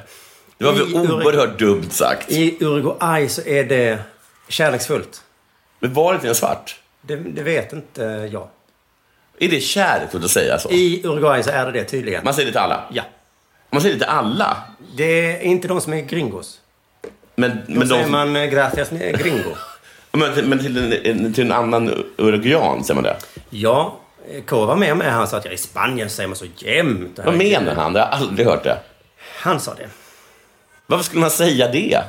[SPEAKER 9] Det var väl
[SPEAKER 7] I Uruguay-
[SPEAKER 9] oerhört dumt sagt.
[SPEAKER 7] I Uruguay så är det kärleksfullt.
[SPEAKER 9] Men var det inte en svart?
[SPEAKER 7] Det, det vet inte jag.
[SPEAKER 9] Är det kärleksfullt att säga så?
[SPEAKER 7] I Uruguay så är det det tydligen.
[SPEAKER 9] Man säger det till alla.
[SPEAKER 7] Ja.
[SPEAKER 9] Man säger det till alla.
[SPEAKER 7] Det är inte de som är gringos.
[SPEAKER 9] Men,
[SPEAKER 7] Då
[SPEAKER 9] men,
[SPEAKER 7] säger
[SPEAKER 9] de,
[SPEAKER 7] man eh, “Gracias ne- gringo”.
[SPEAKER 9] men, men till, en, till en annan uruguayan säger man det.
[SPEAKER 7] ja, eh, K var med med. Han sa att ja, i Spanien säger man så jämt.
[SPEAKER 9] Vad menar han? Jag har aldrig hört det.
[SPEAKER 7] Han sa det.
[SPEAKER 9] Varför skulle man säga det?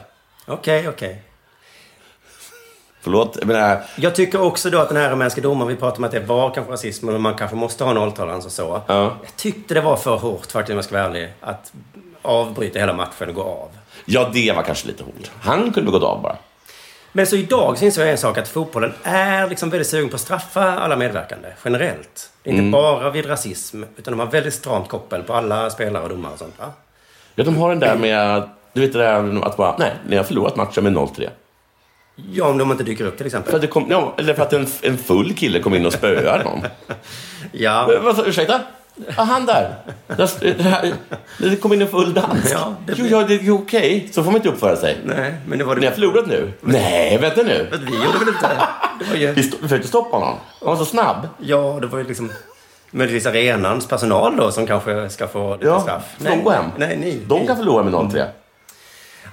[SPEAKER 7] Okej, okej.
[SPEAKER 9] Förlåt, jag menar,
[SPEAKER 7] Jag tycker också då att den här rumänska domaren, vi pratade om att det var kanske rasism och man kanske måste ha nolltolerans och så.
[SPEAKER 9] Ja.
[SPEAKER 7] Jag tyckte det var för hårt faktiskt om jag ska vara ärlig. Att avbryta hela matchen och gå av.
[SPEAKER 9] ja det var kanske lite hårt. Han kunde väl gått av bara.
[SPEAKER 7] Men så idag så insåg jag en sak att fotbollen är liksom väldigt sugen på att straffa alla medverkande generellt. Det
[SPEAKER 9] Mm.
[SPEAKER 7] är inte bara vid rasism utan de har väldigt stramt koppel på alla spelare och domare och sånt. Va?
[SPEAKER 9] Ja, de har den där med, du vet det där att bara, nej, ni har förlorat matchen med 0-3.
[SPEAKER 7] Ja, om de inte dyker upp till
[SPEAKER 9] För
[SPEAKER 7] exempel.
[SPEAKER 9] att, det kom, ja, eller för att en, en full kille kom in och spöade någon.
[SPEAKER 7] Ja,
[SPEAKER 9] Men, vad sa- ursäkta? Ah, han där. Där s- det här- Det kom in en full dansk.
[SPEAKER 7] Ja, det
[SPEAKER 9] jo,
[SPEAKER 7] blir-
[SPEAKER 9] ja, det är ju okej. Så får man inte uppföra sig.
[SPEAKER 7] nej, men det var
[SPEAKER 9] Ni har
[SPEAKER 7] det...
[SPEAKER 9] förlorat nu? Nej, vänta nu.
[SPEAKER 7] Vi gjorde väl inte... Det var ju...
[SPEAKER 9] Vi sto- vi försökte stoppa honom. Han var så snabb.
[SPEAKER 7] Ja, det var ju liksom möjligtvis arenans personal då som kanske ska få lite
[SPEAKER 9] Ja,
[SPEAKER 7] straff.
[SPEAKER 9] får de gå hem?
[SPEAKER 7] Nej, nej.
[SPEAKER 9] De kan förlora med 0-3.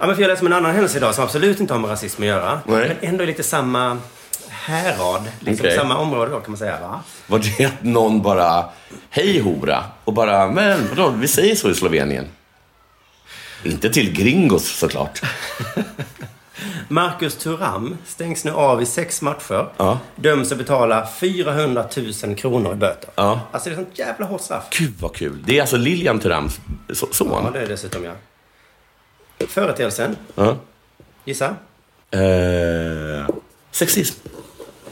[SPEAKER 7] Ja, men för jag läste om en annan händelse idag som absolut inte har med rasism att göra.
[SPEAKER 9] Nej.
[SPEAKER 7] Men ändå är lite samma härad. Liksom
[SPEAKER 9] Okej.
[SPEAKER 7] samma område då kan man säga. Va?
[SPEAKER 9] Var det att någon bara, hej hora, och bara, men vadå, vi säger så i Slovenien. Inte till gringos såklart.
[SPEAKER 7] Marcus Thuram stängs nu av i sex matcher.
[SPEAKER 9] Ja.
[SPEAKER 7] Döms att betala 400 000 kronor i böter.
[SPEAKER 9] Ja.
[SPEAKER 7] Alltså det är sånt jävla hårt straff.
[SPEAKER 9] Gud vad kul. Det är alltså Lilian Turams so-
[SPEAKER 7] Ja,
[SPEAKER 9] son.
[SPEAKER 7] det är det dessutom ja. Företeelsen,
[SPEAKER 9] Ja.
[SPEAKER 7] gissa?
[SPEAKER 9] Eh, sexism.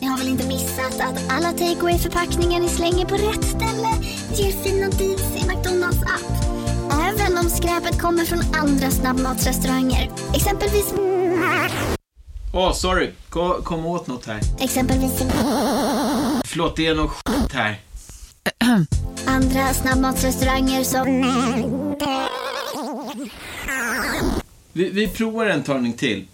[SPEAKER 11] Ni har väl inte missat att alla takeaway förpackningar ni slänger på rätt ställe ger fina deals i McDonalds app. Även om skräpet kommer från andra snabbmatsrestauranger. Exempelvis...
[SPEAKER 2] Åh, sorry. Kom, kom åt något här.
[SPEAKER 11] Exempelvis...
[SPEAKER 2] Förlåt, det är något skit här.
[SPEAKER 11] Andra snabbmatsrestauranger som...
[SPEAKER 2] Vi, vi provar en talning till.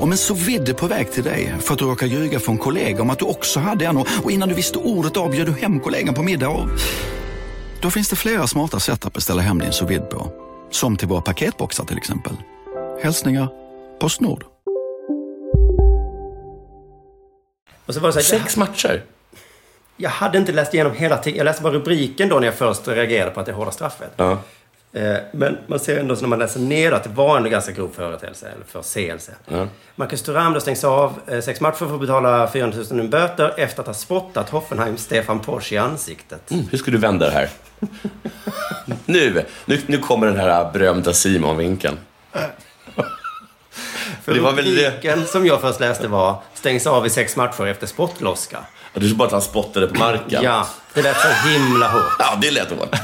[SPEAKER 10] Om en så vidde på väg till dig för att du råkar ljuga från kollega om att du också hade en och och innan du visste ordet av bjöd du hem kollegan på middag och... Då finns det flera smarta sätt att beställa hem din sous vide på. Som till våra paketboxar till exempel. Hälsningar Postnord.
[SPEAKER 7] Och så var det så här,
[SPEAKER 9] Sex matcher.
[SPEAKER 7] jag, jag hade inte läst igenom hela tiden. Jag läste bara rubriken då när jag först reagerade på att det är hårda straffet.
[SPEAKER 9] Ja.
[SPEAKER 7] Eh, Men man ser ändå så när man läser ner att det var en ganska grov företeelse, eller förseelse. Marcus Thuram då stängs av eh, sex matcher för att betala 400 000 i böter efter att ha spottat Hoffenheim Stefan Porsche i ansiktet.
[SPEAKER 9] Mm, hur ska du vända det här? nu, nu, nu kommer den här berömda Simon-vinkeln.
[SPEAKER 7] För
[SPEAKER 9] det var väl det-
[SPEAKER 7] rubriken som jag först läste var stängs av i sex matcher efter spottloska.
[SPEAKER 9] Ja, Du sa bara att han spottade på marken.
[SPEAKER 7] Ja, det lät så himla hårt.
[SPEAKER 9] ja det lät hårt.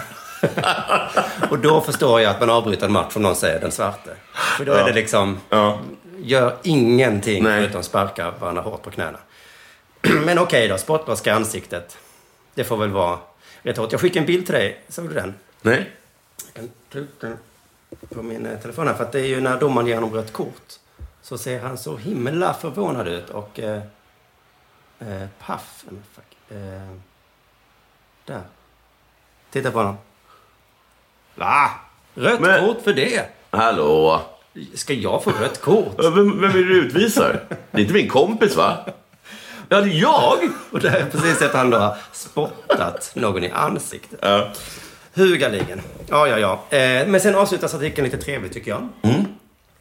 [SPEAKER 7] Och då förstår jag att man avbryter en match om någon säger den svarte. För då är det liksom,
[SPEAKER 9] Ja.
[SPEAKER 7] gör ingenting
[SPEAKER 9] Nej.
[SPEAKER 7] förutom sparka varandra hårt på knäna. Men okej då, spottloska i ansiktet. Det får väl vara rätt hårt. Jag skickade en bild till dig. Såg du den?
[SPEAKER 9] Nej.
[SPEAKER 7] Jag kan ta upp den på min eh, telefon här. För att det är ju när domaren ger honom rött kort. Så ser han så himla förvånad ut och... Eh, eh, paff. Men fuck. Eh, där. Titta på honom. Va? Rött
[SPEAKER 9] Men-
[SPEAKER 7] kort för det?
[SPEAKER 9] Hallå?
[SPEAKER 7] Ska jag få rött kort?
[SPEAKER 9] Ja, Vem, vem är det du utvisar? Det är inte min kompis, va? Ja, det är jag!
[SPEAKER 7] Och där har jag precis sett han då har spottat någon i ansiktet.
[SPEAKER 9] Ja.
[SPEAKER 7] Hugaligen. Ja, ja, ja. Eh, men sen avslutas artikeln lite trevligt tycker jag.
[SPEAKER 9] Mm.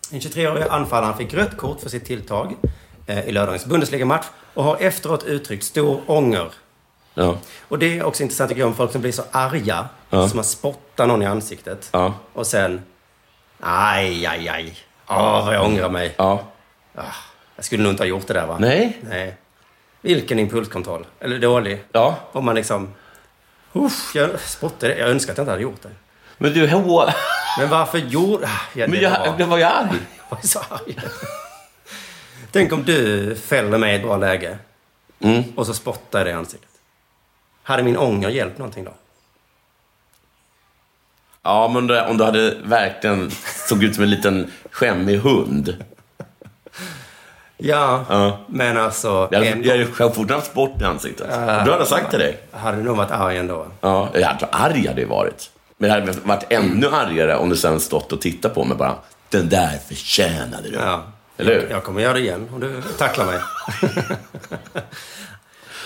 [SPEAKER 7] Den 23-årige anfallaren fick rött kort för sitt tilltag eh, i lördagens Bundesliga-match och har efteråt uttryckt stor ånger.
[SPEAKER 9] Ja.
[SPEAKER 7] Och det är också intressant tycker jag om folk som blir så arga
[SPEAKER 9] Ja.
[SPEAKER 7] som man spottar någon i ansiktet
[SPEAKER 9] Ja.
[SPEAKER 7] och sen aj, aj, aj. Åh, vad jag ångrar mig.
[SPEAKER 9] ja.
[SPEAKER 7] Jag skulle nog inte ha gjort det där va?
[SPEAKER 9] Nej.
[SPEAKER 7] Nej. Vilken impulskontroll. Eller dålig.
[SPEAKER 9] Ja.
[SPEAKER 7] Om man liksom... Usch, jag spottade. Jag önskar att jag inte hade gjort det.
[SPEAKER 9] Men du, hallå.
[SPEAKER 7] Men varför gjorde... Ah, Ja, det
[SPEAKER 9] Men
[SPEAKER 7] var-
[SPEAKER 9] jag, jag var ju arg.
[SPEAKER 7] jag var så arg. Tänk om du fäller mig i ett bra läge
[SPEAKER 9] Mm.
[SPEAKER 7] och så spottar jag dig i ansiktet. Hade min ånger hjälpt någonting då?
[SPEAKER 9] Ja, men det- om du hade verkligen såg ut som en liten skämmig hund.
[SPEAKER 7] Ja,
[SPEAKER 9] Ja.
[SPEAKER 7] men alltså...
[SPEAKER 9] Jag hade,
[SPEAKER 7] en-
[SPEAKER 9] jag hade fortfarande haft sport i ansiktet. Du
[SPEAKER 7] Ah.
[SPEAKER 9] hade jag sagt till dig.
[SPEAKER 7] Hade du nog varit arg ändå?
[SPEAKER 9] Ja, jag hade arg hade jag varit. Men jag hade varit ännu argare om du sen stått och tittat på mig bara. Den där förtjänade du.
[SPEAKER 7] Ja.
[SPEAKER 9] Eller hur?
[SPEAKER 7] Jag kommer göra det igen om du tacklar mig.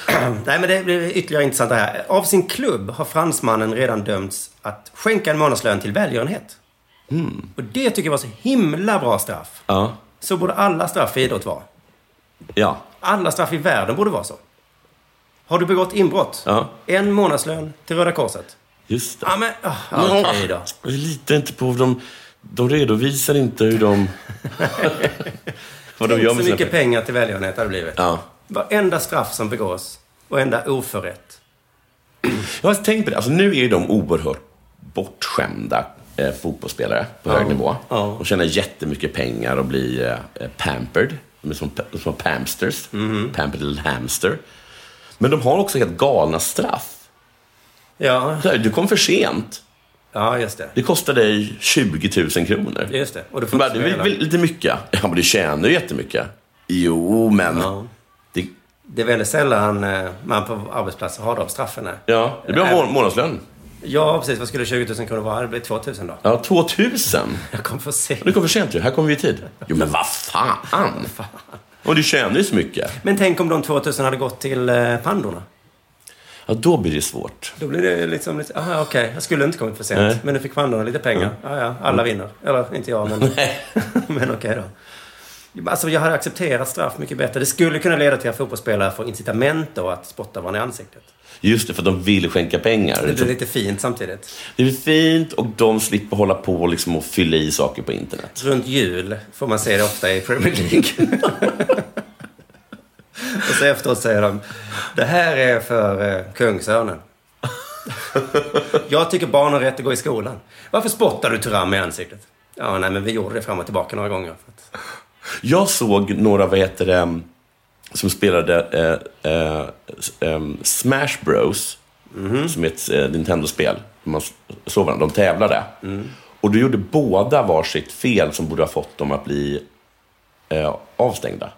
[SPEAKER 7] Nej, men det blir ytterligare intressant det här. Av sin klubb har fransmannen redan dömts att skänka en månadslön till välgörenhet.
[SPEAKER 9] Mm.
[SPEAKER 7] Och det tycker jag var så himla bra straff.
[SPEAKER 9] Ja.
[SPEAKER 7] Så borde alla straff i idrott vara.
[SPEAKER 9] Ja.
[SPEAKER 7] Alla straff i världen borde vara så. Har du begått inbrott?
[SPEAKER 9] Ja.
[SPEAKER 7] En månadslön till Röda Korset.
[SPEAKER 9] Just det.
[SPEAKER 7] Ja, men... ah, Okej då.
[SPEAKER 9] Jag litar inte på de... De redovisar inte hur de... vad de
[SPEAKER 7] Tänk
[SPEAKER 9] gör
[SPEAKER 7] så
[SPEAKER 9] med sina
[SPEAKER 7] mycket pengar till välgörenhet hade det blivit.
[SPEAKER 9] Ja.
[SPEAKER 7] Varenda straff som begås, varenda oförrätt.
[SPEAKER 9] Jag har tänkt på det. Alltså, nu är ju de oerhört bortskämda eh, fotbollsspelare på
[SPEAKER 7] Ja.
[SPEAKER 9] hög nivå.
[SPEAKER 7] Ja.
[SPEAKER 9] De tjänar jättemycket pengar och blir eh, eh, pampered. De är som, pa- som pamsters.
[SPEAKER 7] Mhm.
[SPEAKER 9] Pampered little hamster. Men de har också helt galna straff.
[SPEAKER 7] Ja,
[SPEAKER 9] Så här, Du kom för sent.
[SPEAKER 7] ja just det.
[SPEAKER 9] Det kostar dig 20 000 kronor.
[SPEAKER 7] Just det. Och du får
[SPEAKER 9] Men bara,
[SPEAKER 7] inte
[SPEAKER 9] det är
[SPEAKER 7] spela.
[SPEAKER 9] väl lite mycket? Ja, men du tjänar ju jättemycket. Jo, men...
[SPEAKER 7] Ja.
[SPEAKER 9] Det,
[SPEAKER 7] Det är väldigt sällan eh, man på arbetsplatser har de straffen. här.
[SPEAKER 9] ja, det blir en må- månadslön.
[SPEAKER 7] Ja, precis. Vad skulle 20 000 kronor vara? Det blir 2 000 då.
[SPEAKER 9] Ja, 2000.
[SPEAKER 7] Jag kom för sent.
[SPEAKER 9] Du kom för sent ju. Här kommer vi i tid. Jo, men vad fan! Och du tjänar ju så mycket.
[SPEAKER 7] Men tänk om de 2 000 hade gått till eh, pandorna.
[SPEAKER 9] Ja, då blir det svårt.
[SPEAKER 7] Då blir det liksom lite, aha okej, jag skulle inte kommit för sent.
[SPEAKER 9] Nej.
[SPEAKER 7] Men nu fick pandorna lite pengar. Ja, ja, alla vinner. Eller inte jag, men, men okej då. Alltså jag hade accepterat straff mycket bättre. Det skulle kunna leda till att fotbollsspelare får incitament då att spotta varandra i ansiktet.
[SPEAKER 9] Just det, för att de vill skänka pengar.
[SPEAKER 7] Det blir lite fint samtidigt.
[SPEAKER 9] Det blir fint och de slipper hålla på liksom och fylla i saker på internet.
[SPEAKER 7] Runt jul får man se det ofta i Premier League. Och så efteråt säger de, det här är för eh, kungsörnen. Jag tycker barn har rätt att gå i skolan. Varför spottar du Turam i ansiktet? Ja, nej, men vi gjorde det fram och tillbaka några gånger. För att...
[SPEAKER 9] Jag såg några, vad heter det, som spelade eh, eh, s- ehm, Smash Bros.
[SPEAKER 7] Mhm.
[SPEAKER 9] Som är ett eh, Nintendo-spel. Man s- såg varandra, de tävlade.
[SPEAKER 7] Mm.
[SPEAKER 9] Och då gjorde båda varsitt fel som borde ha fått dem att bli eh, avstängda.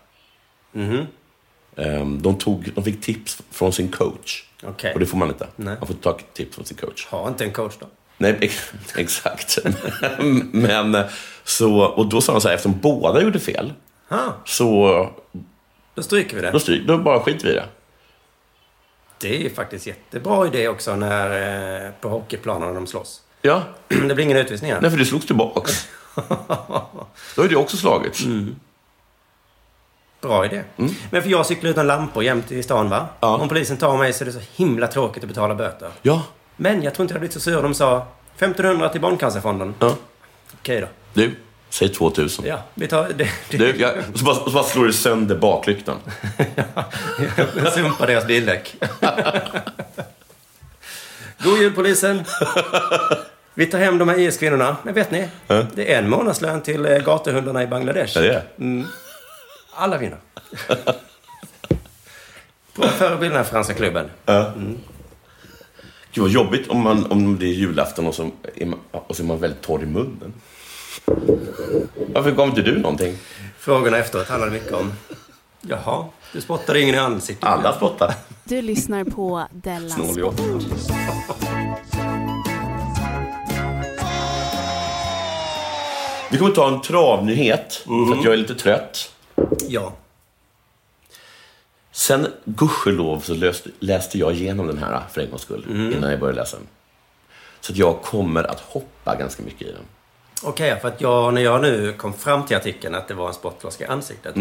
[SPEAKER 7] Mhm.
[SPEAKER 9] Ehm, de, tog, de fick tips från sin coach.
[SPEAKER 7] Okej.
[SPEAKER 9] Och det får man inte.
[SPEAKER 7] Nej.
[SPEAKER 9] Man får ta tips från sin coach.
[SPEAKER 7] Ha inte en coach då.
[SPEAKER 9] Nej, ex- exakt. Men så, och då sa de så här, eftersom båda gjorde fel,
[SPEAKER 7] Ha,
[SPEAKER 9] så
[SPEAKER 7] då stryker vi det.
[SPEAKER 9] då, styr, då bara skiter vi i det.
[SPEAKER 7] Det är ju faktiskt jättebra idé också när, eh, på hockeyplanen när de slåss.
[SPEAKER 9] Ja,
[SPEAKER 7] det blir ingen utvisning här.
[SPEAKER 9] nej, för det slogs tillbaks. Då är det också slagits.
[SPEAKER 7] Bra idé. Men för jag cyklar utan lampor jämt i stan va?
[SPEAKER 9] Mm. Ja.
[SPEAKER 7] Om polisen tar mig så är det så himla tråkigt att betala böter.
[SPEAKER 9] Ja,
[SPEAKER 7] Men jag tror inte jag blivit så sur. De sa 1500 till Barncancerfonden.
[SPEAKER 9] ja.
[SPEAKER 7] Okej då.
[SPEAKER 9] Du, säg 2000.
[SPEAKER 7] Ja, vi tar... Det, det,
[SPEAKER 9] Du, jag, så, bara, så bara slår du sönder baklyktan.
[SPEAKER 7] jag sumpar deras bildäck. God jul polisen! Vi tar hem de här IS-kvinnorna. Men vet ni? Det är en månadslön till eh, gatuhundarna i Bangladesh.
[SPEAKER 9] Är det?
[SPEAKER 7] Alla vinner. Bra förebild den här franska klubben.
[SPEAKER 9] Gud, vad jobbigt om, man, om det är julafton och så är, man, och så är man väldigt torr i munnen. Varför gav inte du någonting?
[SPEAKER 7] Frågorna efteråt handlade mycket om... Jaha, du spottade ingen i ansiktet.
[SPEAKER 9] Alla spottar.
[SPEAKER 8] Du lyssnar på Della
[SPEAKER 9] Snål i
[SPEAKER 8] Sport.
[SPEAKER 9] åttan. Vi kommer ta en travnyhet, för att jag är lite trött.
[SPEAKER 7] Ja.
[SPEAKER 9] Sen, gudskelov, så löst, läste jag igenom den här för en gångs skull, innan jag började läsa den. Så att jag kommer att hoppa ganska mycket i den.
[SPEAKER 7] Okej, för att jag, när jag nu kom fram till artikeln att det var en spottloska i ansiktet.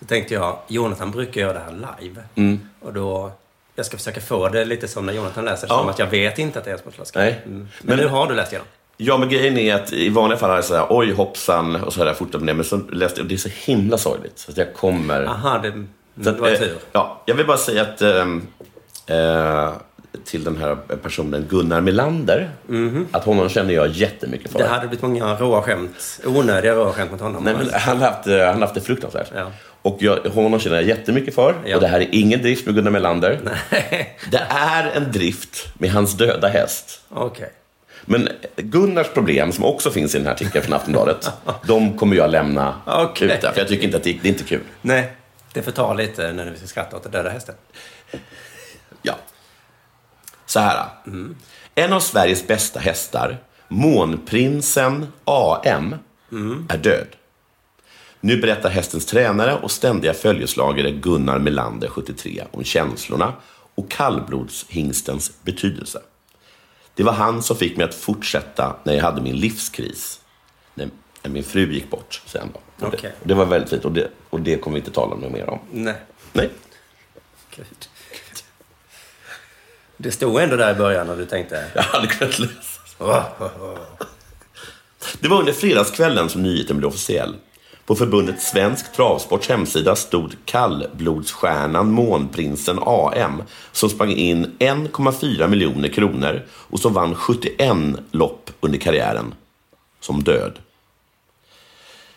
[SPEAKER 7] Så tänkte jag, Jonathan brukar göra det här live. Och då, jag ska försöka få det lite som när Jonathan läser,
[SPEAKER 9] Ja.
[SPEAKER 7] som att jag vet inte att det är en spottloska.
[SPEAKER 9] Nej.
[SPEAKER 7] Mm. Men,
[SPEAKER 9] Men-
[SPEAKER 7] nu har du läst igenom.
[SPEAKER 9] Ja, men grejen är att i vanliga fall är det så här, oj hoppsan, och så har jag fortsatt med det. Men så läste jag, och det är så himla sorgligt. Så att jag kommer...
[SPEAKER 7] Aha, det, mm,
[SPEAKER 9] Så
[SPEAKER 7] det
[SPEAKER 9] att,
[SPEAKER 7] var
[SPEAKER 9] eh,
[SPEAKER 7] tur.
[SPEAKER 9] ja, jag vill bara säga att ehm, eh, till den här personen Gunnar Melander, att honom känner jag jättemycket för.
[SPEAKER 7] Det hade blivit många råa skämt, onödiga råa skämt mot honom. Alltså.
[SPEAKER 9] Nej, men han har haft, eh, han har haft det fruktansvärt.
[SPEAKER 7] Ja.
[SPEAKER 9] Och jag, honom känner jag jättemycket för.
[SPEAKER 7] Ja.
[SPEAKER 9] Och det här är ingen drift med Gunnar Melander. Det är en drift med hans döda häst.
[SPEAKER 7] Okej.
[SPEAKER 9] Men Gunnars problem, som också finns i den här artikeln från Aftonbladet, de kommer jag lämna
[SPEAKER 7] Okej.
[SPEAKER 9] ute. För jag tycker inte att det, det är inte kul.
[SPEAKER 7] Nej, det förtar lite när vi ska skratta åt den döda hästen.
[SPEAKER 9] Ja. Så här. En av Sveriges bästa hästar, Månprinsen AM, är död. Nu berättar hästens tränare och ständiga följeslagare Gunnar Melander, 73, om känslorna och kallblodshingstens betydelse. Det var han som fick mig att fortsätta när jag hade min livskris. När när min fru gick bort sen. Då. Och
[SPEAKER 7] Okej.
[SPEAKER 9] Det, och det var väldigt fint och det, och det kommer vi inte tala mer om.
[SPEAKER 7] Nej.
[SPEAKER 9] Nej.
[SPEAKER 7] Gud. Det stod ändå där i början och du tänkte...
[SPEAKER 9] Jag hade kunnat läsa. Det var under fredagskvällen som nyheten blev officiell. På förbundet Svensk Travsports hemsida stod kallblodsstjärnan Månprinsen AM som sprang in 1,4 miljoner kronor och som vann 71 lopp under karriären. Som död.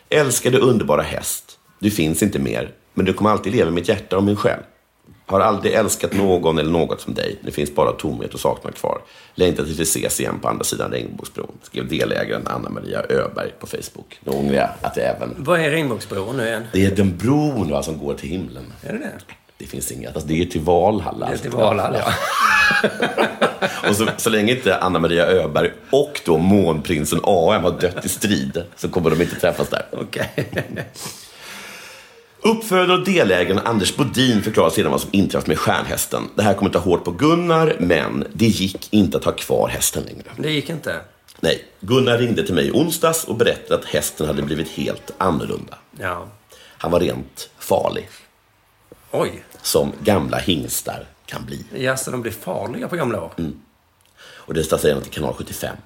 [SPEAKER 9] Älskade underbara häst. Du finns inte mer, men du kommer alltid leva i mitt hjärta och min själ. Har aldrig älskat någon eller något som dig. Det finns bara tomhet och saknad kvar. Längtar tills vi ses igen på andra sidan regnbågsbron. Skrev delägaren Anna-Maria Öberg på Facebook. Nu ångrar jag att jag även...
[SPEAKER 7] Vad är regnbågsbron nu igen?
[SPEAKER 9] Det är den bron va, som går till himlen.
[SPEAKER 7] Är det det?
[SPEAKER 9] Det finns inget. Alltså, det är till Valhalla.
[SPEAKER 7] Det är till Valhalla.
[SPEAKER 9] Ja. och så, så länge inte Anna-Maria Öberg och då månprinsen AM har dött i strid så kommer de inte träffas där.
[SPEAKER 7] Okej.
[SPEAKER 9] Uppfödare och delägaren Anders Bodin förklarar sedan vad som inträffat med stjärnhästen. Det här kommer ta hårt på Gunnar, men det gick inte att ha kvar hästen längre.
[SPEAKER 7] Det gick inte?
[SPEAKER 9] Nej, Gunnar ringde till mig i onsdags och berättade att hästen hade blivit helt annorlunda.
[SPEAKER 7] Ja.
[SPEAKER 9] Han var rent farlig.
[SPEAKER 7] Oj.
[SPEAKER 9] Som gamla hingstar kan bli.
[SPEAKER 7] Ja, så de blir farliga på gamla år?
[SPEAKER 9] Mm. Och det står sedan till kanal 75.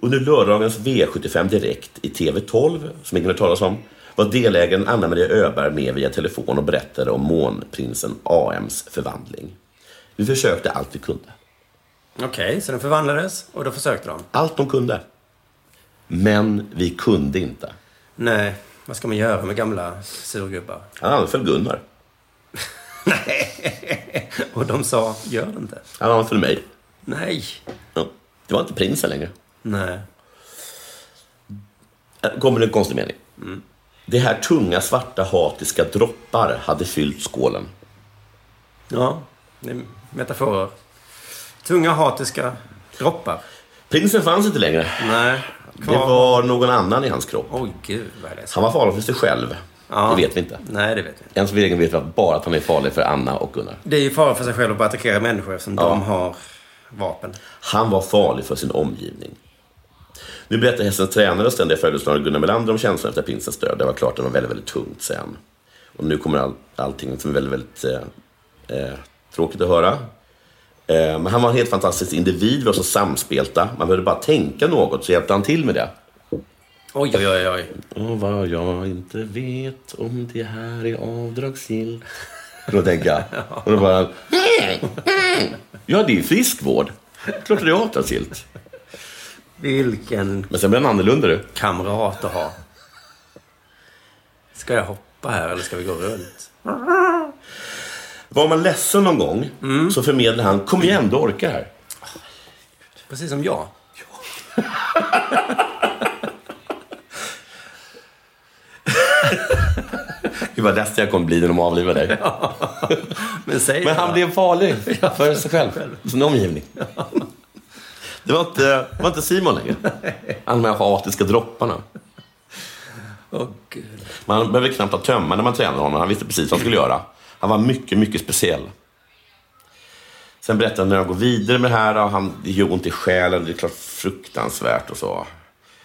[SPEAKER 9] Under lördagens V75 Direkt i TV12, som ingen har talas om, var delägaren Anna-Maria Öberg med via telefon och berättade om månprinsen AMs förvandling. Vi försökte allt vi kunde.
[SPEAKER 7] Okej, så den förvandlades och då försökte de?
[SPEAKER 9] Allt de kunde. Men vi kunde inte.
[SPEAKER 7] Nej, vad ska man göra med gamla surgubbar?
[SPEAKER 9] Han anföll Gunnar.
[SPEAKER 7] Och de sa, gör det inte.
[SPEAKER 9] Han anföll mig.
[SPEAKER 7] Nej.
[SPEAKER 9] Ja. Det var inte prinsen längre.
[SPEAKER 7] Nej.
[SPEAKER 9] Här Äh, Kommer det en konstig mening. Det här tunga svarta hatiska droppar hade fyllt skålen.
[SPEAKER 7] Ja, det är metaforer. Tunga hatiska droppar.
[SPEAKER 9] Prinsen fanns inte längre.
[SPEAKER 7] Nej.
[SPEAKER 9] Det var någon annan i hans kropp.
[SPEAKER 7] Oj, gud vad är det
[SPEAKER 9] Han var farlig för sig själv.
[SPEAKER 7] Ja.
[SPEAKER 9] Det vet vi inte.
[SPEAKER 7] Nej, det vet vi inte.
[SPEAKER 9] Än så länge vet vi att bara att han är farlig för Anna och Gunnar.
[SPEAKER 7] Det är ju fara för sig själv att bara attackera människor eftersom
[SPEAKER 9] Ja.
[SPEAKER 7] de har vapen.
[SPEAKER 9] Han var farlig för sin omgivning. Nu berättar hästens tränare och ständiga följeslagare Gunnar Melander om känslan efter prinsens död. Det var klart att det var väldigt, väldigt tungt sen. Och nu kommer all, allting som är väldigt, väldigt eh, eh, tråkigt att höra. Eh, men han var en helt fantastisk individ. Vi var så samspelta. Man behövde bara tänka något så hjälpte han till med det.
[SPEAKER 7] Oj, oj, oj, oj.
[SPEAKER 9] Och vad jag inte vet om det här är avdragsgillt. Kunde tänka. Och då bara... "Mm, Ja, det är ju friskvård. Klart det är avdragsgillt.
[SPEAKER 7] Vilken
[SPEAKER 9] Men sen blev han annorlunda du.
[SPEAKER 7] kamrat att ha. Ska jag hoppa här eller ska vi gå runt?
[SPEAKER 9] Var man ledsen någon gång så förmedlar han, kom igen du orkar här.
[SPEAKER 7] Precis som jag.
[SPEAKER 9] Hur vad ledsen jag kommer bli när de avlivar dig.
[SPEAKER 7] Men säg
[SPEAKER 9] Men han
[SPEAKER 7] bara.
[SPEAKER 9] blev farlig för sig själv, sin omgivning. Det var inte, det var inte Simon längre. Alla de här hatiska dropparna.
[SPEAKER 7] Åh, gud.
[SPEAKER 9] Man behöver knappt ha tömmar när man tränar honom. Han visste precis vad han skulle göra. Han var mycket, mycket speciell. Sen berättade han när jag går vidare med det här. Och han, det gör ont i själen. Det är klart fruktansvärt och så.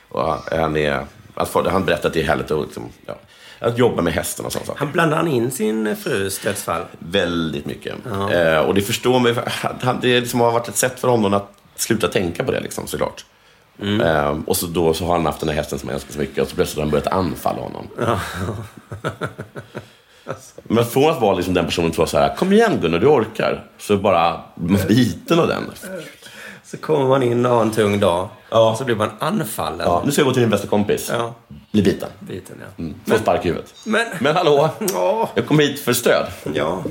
[SPEAKER 9] Och han, är, att få, han berättade att det är härligt att, liksom, ja, att jobba med hästen och sånt.
[SPEAKER 7] Han blandade han in sin frus dödsfall?
[SPEAKER 9] Väldigt mycket. Eh, och det förstår man ju. Han- Det liksom har varit ett sätt för honom att sluta tänka på det liksom, såklart.
[SPEAKER 7] Mm.
[SPEAKER 9] Eh, och så då så har han haft den här hästen som han älskar så mycket och så plötsligt har han börjat anfalla honom. Men från att vara liksom den personen som var så här, kom igen Gunnar, du orkar. Så bara man blir biten av den.
[SPEAKER 7] Så kommer man in och har en tung dag.
[SPEAKER 9] Ja.
[SPEAKER 7] Så blir man anfallen.
[SPEAKER 9] Ja, Mm. nu ska jag gå till min bästa kompis.
[SPEAKER 7] Ja,
[SPEAKER 9] Bli biten.
[SPEAKER 7] biten ja.
[SPEAKER 9] Få spark i huvudet.
[SPEAKER 7] Men...
[SPEAKER 9] Men hallå,
[SPEAKER 7] Ja.
[SPEAKER 9] jag kom hit för stöd.
[SPEAKER 7] Ja.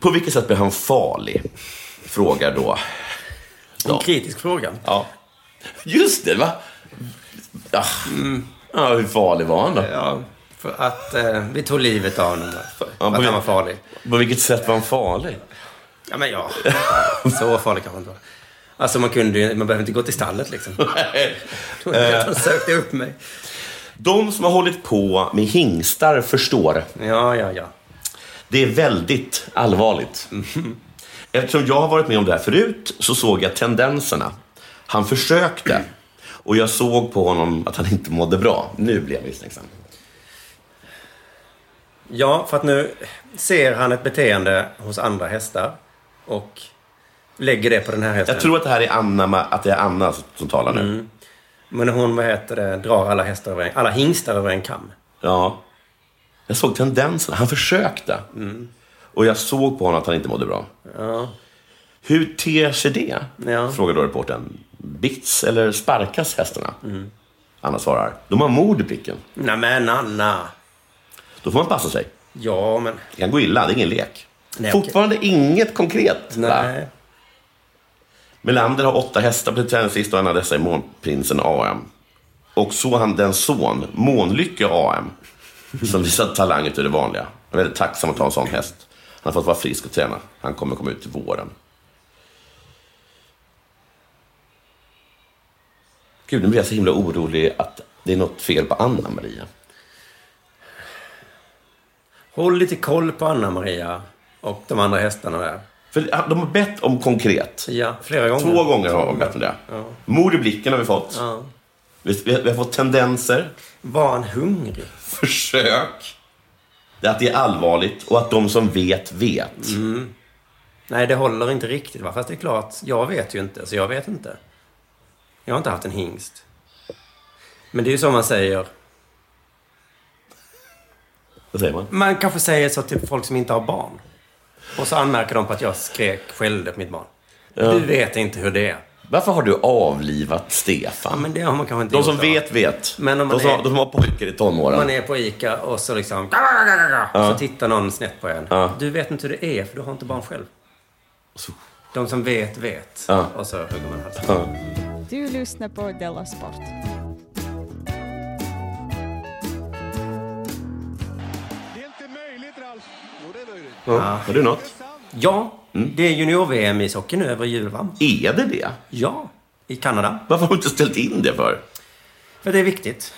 [SPEAKER 9] På vilket sätt blev han farlig? Frågar då
[SPEAKER 7] En kritisk fråga.
[SPEAKER 9] Ja. Just det, va? Ah. Ja, hur farlig var han då?
[SPEAKER 7] Ja, för att eh, vi tog livet av honom. För, för
[SPEAKER 9] Ja, på
[SPEAKER 7] att han
[SPEAKER 9] vil-
[SPEAKER 7] var farlig.
[SPEAKER 9] På vilket sätt var han farlig?
[SPEAKER 7] Ja, men ja. Så farlig kanske han inte var. Eh. Alltså man kunde ju, man behövde inte gå till stallet liksom. Då hade han sökte upp mig.
[SPEAKER 9] De som har hållit på med hingstar förstår.
[SPEAKER 7] Ja, ja, ja.
[SPEAKER 9] Det är väldigt allvarligt.
[SPEAKER 7] Mhm.
[SPEAKER 9] Eftersom jag har varit med om det här förut så såg jag tendenserna. Han försökte och jag såg på honom att han inte mådde bra. Nu blev jag misstänksam.
[SPEAKER 7] Ja, för att nu ser han ett beteende hos andra hästar och lägger det på den här hästen.
[SPEAKER 9] Jag tror att det här är Anna, att det är Anna som talar nu.
[SPEAKER 7] Men hon, vad heter det, drar alla hästar över en, alla hingstar över en kam.
[SPEAKER 9] Ja. Jag såg tendenserna. Han försökte. Och jag såg på honom att han inte mådde bra.
[SPEAKER 7] Ja.
[SPEAKER 9] Hur ter sig det?
[SPEAKER 7] Ja.
[SPEAKER 9] Frågar då reportern. Bits eller sparkas hästarna?
[SPEAKER 7] Mm.
[SPEAKER 9] Anna svarar. De har mord i blicken.
[SPEAKER 7] Nej men Anna!
[SPEAKER 9] Då får man passa sig.
[SPEAKER 7] Ja, men...
[SPEAKER 9] Det kan gå illa. Det är ingen lek.
[SPEAKER 7] Nej, okej.
[SPEAKER 9] Fortfarande inget konkret. va?
[SPEAKER 7] Nej.
[SPEAKER 9] Melander har åtta hästar på träningslista och en av dessa är Månprinsen AM. Och så han den son, Månlycke AM, som visat talang utöver det vanliga. Jag är väldigt tacksam att ha en sån häst. Han har fått vara frisk och träna. Han kommer komma ut till våren. Gud, nu blir jag så himla orolig att det är något fel på Anna-Maria.
[SPEAKER 7] Håll lite koll på Anna-Maria och de andra hästarna där.
[SPEAKER 9] För de har bett om konkret.
[SPEAKER 7] Ja, flera gånger.
[SPEAKER 9] Två gånger har jag bett om det.
[SPEAKER 7] Ja.
[SPEAKER 9] Mord i blicken har vi fått.
[SPEAKER 7] Ja.
[SPEAKER 9] Vi, vi, vi har fått tendenser.
[SPEAKER 7] Var han hungrig?
[SPEAKER 9] Försök. Det är Att det är allvarligt och att de som vet, vet.
[SPEAKER 7] Mm. Nej, det håller inte riktigt. Va? Fast det är klart, jag vet ju inte, så jag vet inte. Jag har inte haft en hingst. Men det är ju så man säger.
[SPEAKER 9] Vad säger man?
[SPEAKER 7] Man kanske säger så till folk som inte har barn. Och så anmärker de på att jag skrek, skällde på mitt barn.
[SPEAKER 9] Ja.
[SPEAKER 7] Du vet inte hur det är.
[SPEAKER 9] Varför har du avlivat Stefan?
[SPEAKER 7] Ja, men det har man kanske inte
[SPEAKER 9] de
[SPEAKER 7] gjort,
[SPEAKER 9] som
[SPEAKER 7] va?
[SPEAKER 9] vet, vet.
[SPEAKER 7] Men om man
[SPEAKER 9] de, som,
[SPEAKER 7] är-
[SPEAKER 9] de som har pojkar i tonåren.
[SPEAKER 7] Man är på ICA och så liksom...
[SPEAKER 9] Ja.
[SPEAKER 7] Så tittar någon snett på en.
[SPEAKER 9] Ja.
[SPEAKER 7] Du vet inte hur det är, för du har inte barn själv.
[SPEAKER 9] Så.
[SPEAKER 7] De som vet, vet.
[SPEAKER 9] Ja.
[SPEAKER 7] Och så hugger man halsen.
[SPEAKER 9] Ja.
[SPEAKER 12] Du lyssnar på Della Sport.
[SPEAKER 9] Ja. Har du något?
[SPEAKER 7] Ja, det är junior-VM i ishockey nu över jul, va?
[SPEAKER 9] Är det det?
[SPEAKER 7] Ja, i Kanada.
[SPEAKER 9] Varför har du inte ställt in det för?
[SPEAKER 7] För det är viktigt.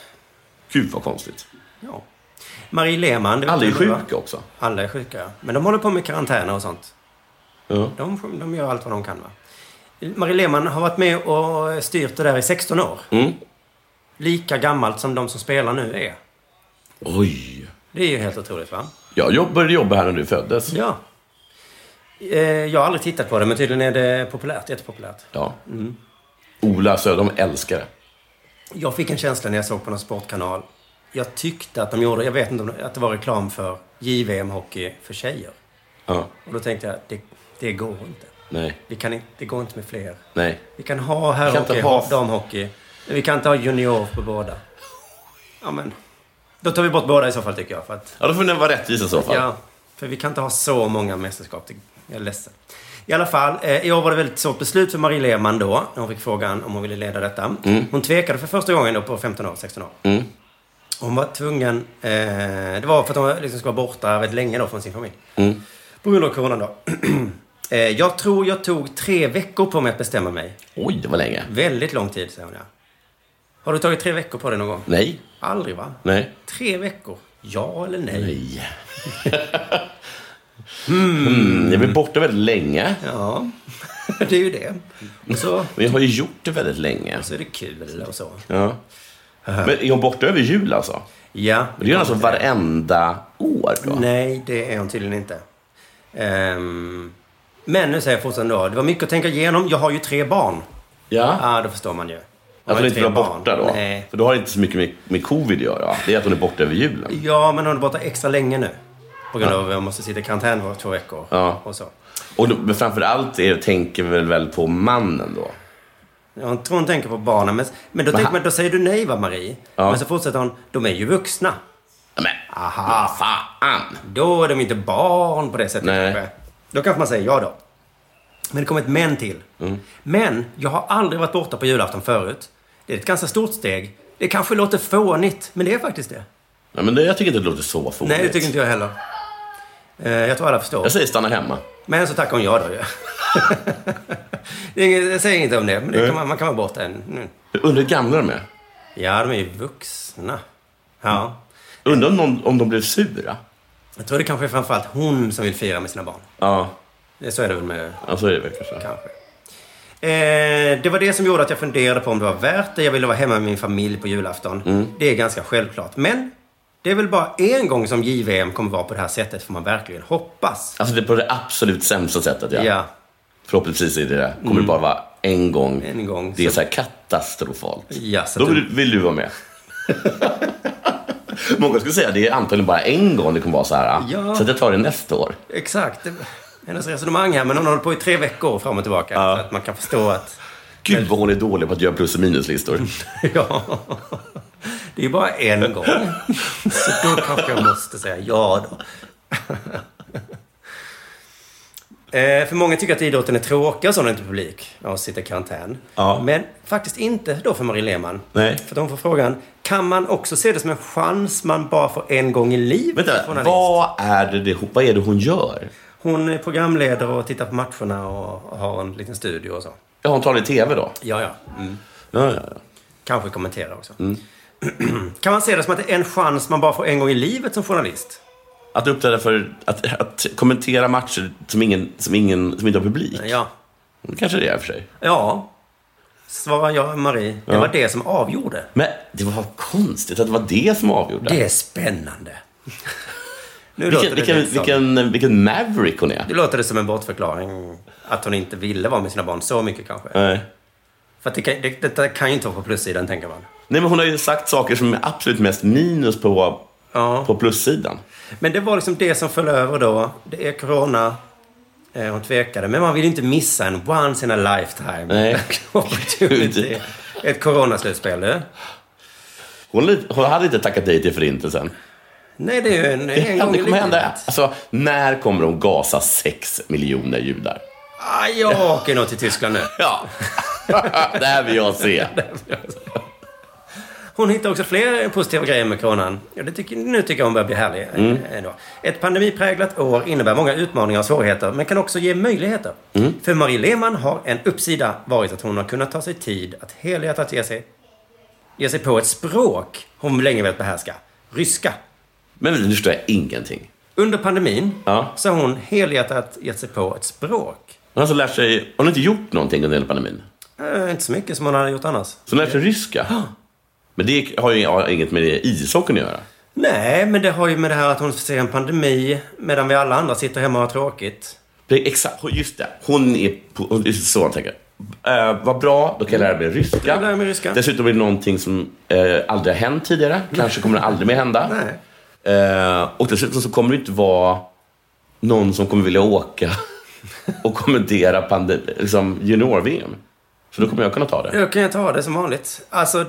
[SPEAKER 9] Gud vad konstigt.
[SPEAKER 7] Ja. Marie Lehmann. det vet
[SPEAKER 9] Alla är
[SPEAKER 7] du väl, va?
[SPEAKER 9] sjuka också.
[SPEAKER 7] Alla är sjuka, ja. Men de håller på med karantäner och sånt.
[SPEAKER 9] Ja.
[SPEAKER 7] De, de gör allt vad de kan, va? Marie Lehmann har varit med och styrt det där i 16 år.
[SPEAKER 9] Mm.
[SPEAKER 7] Lika gammalt som de som spelar nu är.
[SPEAKER 9] Oj.
[SPEAKER 7] Det är ju helt otroligt, va?
[SPEAKER 9] Jag jobb- började jobba här när du föddes.
[SPEAKER 7] Ja. Eh, Jag har aldrig tittat på det, men tydligen är det populärt. Jättepopulärt.
[SPEAKER 9] Ja.
[SPEAKER 7] Mm.
[SPEAKER 9] Ola Söderholm älskar det.
[SPEAKER 7] Jag fick en känsla när jag såg på någon sportkanal. Jag tyckte att de gjorde, jag vet inte om det, att det var reklam för JVM hockey för tjejer.
[SPEAKER 9] Ja.
[SPEAKER 7] Och då tänkte jag, det, det går inte.
[SPEAKER 9] Nej.
[SPEAKER 7] Vi kan inte, det går inte med fler.
[SPEAKER 9] Nej.
[SPEAKER 7] Vi kan ha
[SPEAKER 9] Vi kan
[SPEAKER 7] herrhockey,
[SPEAKER 9] inte ha-
[SPEAKER 7] ha damhockey. Men vi kan inte ha junior på båda. Ja, men. Då tar vi bort båda i så fall, tycker jag. För att,
[SPEAKER 9] Ja, då får den vara rättvis i så fall.
[SPEAKER 7] Ja, för vi kan inte ha så många mästerskap. Det- Jag är ledsen. I alla fall, eh, i år var det väldigt svårt beslut för Marie Lehmann då, när hon fick frågan om hon ville leda detta.
[SPEAKER 9] Mm.
[SPEAKER 7] Hon tvekade för första gången då på 15 år, 16 år.
[SPEAKER 9] Mm.
[SPEAKER 7] Hon var tvungen... Eh, det var för att hon liksom skulle vara borta väldigt länge då från sin familj.
[SPEAKER 9] Mm.
[SPEAKER 7] På grund av coronan då. eh, jag tror jag tog tre veckor på mig att bestämma mig.
[SPEAKER 9] Oj, det var länge.
[SPEAKER 7] Väldigt lång tid, säger hon ja. Har du tagit tre veckor på dig någon gång?
[SPEAKER 9] Nej.
[SPEAKER 7] Aldrig va?
[SPEAKER 9] Nej.
[SPEAKER 7] Tre veckor? Ja eller nej?
[SPEAKER 9] Nej. Mm. Jag blir borta väldigt länge.
[SPEAKER 7] Ja, det är ju det. Och så,
[SPEAKER 9] Men jag har ju gjort det väldigt länge.
[SPEAKER 7] så är det kul och så.
[SPEAKER 9] Ja. Men är hon borta över jul alltså?
[SPEAKER 7] Ja.
[SPEAKER 9] Men det gör hon alltså varenda år då?
[SPEAKER 7] Nej, det är hon tydligen inte. Ehm, men nu säger jag fortfarande då, det var mycket att tänka igenom. Jag har ju tre barn.
[SPEAKER 9] Ja.
[SPEAKER 7] Ja, då förstår man ju.
[SPEAKER 9] Att
[SPEAKER 7] har
[SPEAKER 9] hon
[SPEAKER 7] ju
[SPEAKER 9] Alltså, inte
[SPEAKER 7] tre
[SPEAKER 9] var borta då?
[SPEAKER 7] Nej.
[SPEAKER 9] För då har det inte så mycket med, med covid att göra. va? Det är att hon är borta över julen.
[SPEAKER 7] Ja, men hon är borta extra länge nu. På grund
[SPEAKER 9] Ja.
[SPEAKER 7] av att jag måste sitta i karantän var två veckor.
[SPEAKER 9] Ja.
[SPEAKER 7] Och så.
[SPEAKER 9] Och då, men framför allt är, tänker väl väl på mannen då?
[SPEAKER 7] Jag tror hon tänker på barnen. Men, men då,
[SPEAKER 9] Va?
[SPEAKER 7] tänker man, då säger du nej va, Marie?
[SPEAKER 9] Ja.
[SPEAKER 7] Men så fortsätter hon, de är ju vuxna.
[SPEAKER 9] Men
[SPEAKER 7] Aha.
[SPEAKER 9] fan!
[SPEAKER 7] Då är de inte barn på det sättet
[SPEAKER 9] Nej.
[SPEAKER 7] kanske. Då kanske man säger ja då. Men det kommer ett men till.
[SPEAKER 9] Mm.
[SPEAKER 7] Men jag har aldrig varit borta på julafton förut. Det är ett ganska stort steg. Det kanske låter fånigt, men det är faktiskt det.
[SPEAKER 9] Nej, men det, jag tycker inte det låter så fånigt. Alltså-
[SPEAKER 7] Nej, det tycker inte jag heller. Eh, Jag tror alla förstår.
[SPEAKER 9] Jag säger stanna hemma.
[SPEAKER 7] Men så tackar hon ja då ju. Det är inget- jag säger inget om det, men det
[SPEAKER 9] Nej.
[SPEAKER 7] kan man, man kan vara borta en... mm.
[SPEAKER 9] Jag undrar hur gamla de är.
[SPEAKER 7] Ja, de är ju vuxna.
[SPEAKER 9] Mm.
[SPEAKER 7] Ja.
[SPEAKER 9] Undrar om, någon, om de blev sura?
[SPEAKER 7] Jag tror det kanske är framförallt hon som vill fira med sina barn.
[SPEAKER 9] Ja.
[SPEAKER 7] Så är det väl med...
[SPEAKER 9] Ja, så är det väl kanske.
[SPEAKER 7] kanske. Eh, det var det som gjorde att jag funderade på om det var värt det. Jag ville vara hemma med min familj på julafton.
[SPEAKER 9] Mm.
[SPEAKER 7] Det är ganska självklart. Men det är väl bara en gång som JVM kommer vara på det här sättet, får man verkligen hoppas.
[SPEAKER 9] Alltså det är på det absolut sämsta sättet. Ja.
[SPEAKER 7] Ja.
[SPEAKER 9] Förhoppningsvis är det det. Kommer
[SPEAKER 7] Mm.
[SPEAKER 9] det bara vara en gång.
[SPEAKER 7] En gång.
[SPEAKER 9] Det är så här katastrofalt.
[SPEAKER 7] Ja, så
[SPEAKER 9] Då
[SPEAKER 7] att du-
[SPEAKER 9] vill, vill du vara med. Många skulle säga att det är antagligen bara en gång det kommer vara så här. ah,
[SPEAKER 7] Ja.
[SPEAKER 9] Så att jag tar det nästa år.
[SPEAKER 7] Exakt. Det- Hennes resonemang här, men hon har hållit på i tre veckor fram och tillbaka. Så att man kan förstå att...
[SPEAKER 9] Gud vad hon är dålig på att göra plus och minuslistor.
[SPEAKER 7] Mm. ja. Det är ju bara en gång. Så då kanske jag måste säga ja då. Eh, För många tycker att idrotten är tråkig och så när det inte är publik när hon sitter i karantän. Men faktiskt inte då för Marie Lehmann.
[SPEAKER 9] Nej.
[SPEAKER 7] För att hon får frågan, kan man också se det som en chans man bara får en gång i livet? som
[SPEAKER 9] Vänta,
[SPEAKER 7] journalist?
[SPEAKER 9] vad är, det, det- vad är det hon gör?
[SPEAKER 7] Hon är programledare och tittar på matcherna och har en liten studio och så.
[SPEAKER 9] Ja, hon talar i tv då?
[SPEAKER 7] Ja, ja. Mm.
[SPEAKER 9] Ja, ja, ja.
[SPEAKER 7] Kanske kommentera också.
[SPEAKER 9] Mm.
[SPEAKER 7] Kan man se det som att det är en chans man bara får en gång i livet som journalist?
[SPEAKER 9] Att uppträda för att, att kommentera matcher som, ingen, som, ingen, som inte har publik.
[SPEAKER 7] Ja.
[SPEAKER 9] Kanske det är i och för sig.
[SPEAKER 7] Ja, svarar jag Marie. Det
[SPEAKER 9] Ja.
[SPEAKER 7] var det som avgjorde.
[SPEAKER 9] Men det var konstigt att det var det som avgjorde.
[SPEAKER 7] Det är spännande. Nu
[SPEAKER 9] vilken,
[SPEAKER 7] låter det
[SPEAKER 9] vilken,
[SPEAKER 7] liksom-
[SPEAKER 9] vilken, vilken maverick hon är.
[SPEAKER 7] Det låter det som en bortförklaring. Att hon inte ville vara med sina barn så mycket kanske.
[SPEAKER 9] Nej.
[SPEAKER 7] För att det kan, det, detta kan ju inte vara på plussidan, tänker man.
[SPEAKER 9] Nej, men hon har ju sagt saker som är absolut mest minus på, på plussidan.
[SPEAKER 7] Men det var liksom det som föll över då. Det är corona. Eh, Hon tvekade. Men man vill ju inte missa en once in a lifetime
[SPEAKER 9] Nej.
[SPEAKER 7] opportunity. Ett coronaslutspel, du.
[SPEAKER 9] Hon, li- hon hade inte tackat nej till förintelsen.
[SPEAKER 7] Nej, det är ju en, en gång
[SPEAKER 9] det
[SPEAKER 7] i
[SPEAKER 9] kommer
[SPEAKER 7] livet.
[SPEAKER 9] hända. Alltså, när kommer de gasa sex miljoner judar?
[SPEAKER 7] Ah, jag åker nog till Tyskland nu.
[SPEAKER 9] Ja. Där vill jag se.
[SPEAKER 7] Hon hittar också fler positiva grejer med coronan. Ja, det tycker, nu tycker jag hon börjar bli härlig.
[SPEAKER 9] Mm.
[SPEAKER 7] eh, Ändå. Ett pandemipräglat år innebär många utmaningar och svårigheter, men kan också ge möjligheter.
[SPEAKER 9] Mm.
[SPEAKER 7] För Marie Lehmann har en uppsida varit att hon har kunnat ta sig tid att helhjärtat ge sig, ge sig på ett språk hon länge velat behärska. Ryska.
[SPEAKER 9] Men nu förstår jag ingenting.
[SPEAKER 7] Under pandemin
[SPEAKER 9] Ja.
[SPEAKER 7] så har hon helhjärtat gett sig på ett språk.
[SPEAKER 9] Hon har alltså lärt sig... Hon har inte gjort någonting under hela pandemin.
[SPEAKER 7] Eh, inte så mycket som hon hade gjort annars.
[SPEAKER 9] Så hon har lärt sig ryska. Men det har ju har inget med det ishockeyn att göra.
[SPEAKER 7] Nej, men det har ju med det här att hon ser en pandemi medan vi alla andra sitter hemma och har tråkigt.
[SPEAKER 9] Det är exakt, just det. Hon är, på- hon är så hon tänker. Eh, vad bra, då kan jag lära mig ryska.
[SPEAKER 7] Jag lär mig ryska.
[SPEAKER 9] Dessutom är det någonting som eh, aldrig har hänt tidigare. Kanske kommer det aldrig mer hända. Eh, och dessutom så kommer det inte vara någon som kommer vilja åka och kommentera pande- liksom junior-VM. Så då kommer jag kunna ta det.
[SPEAKER 7] Då kan jag ta det som vanligt. Alltså,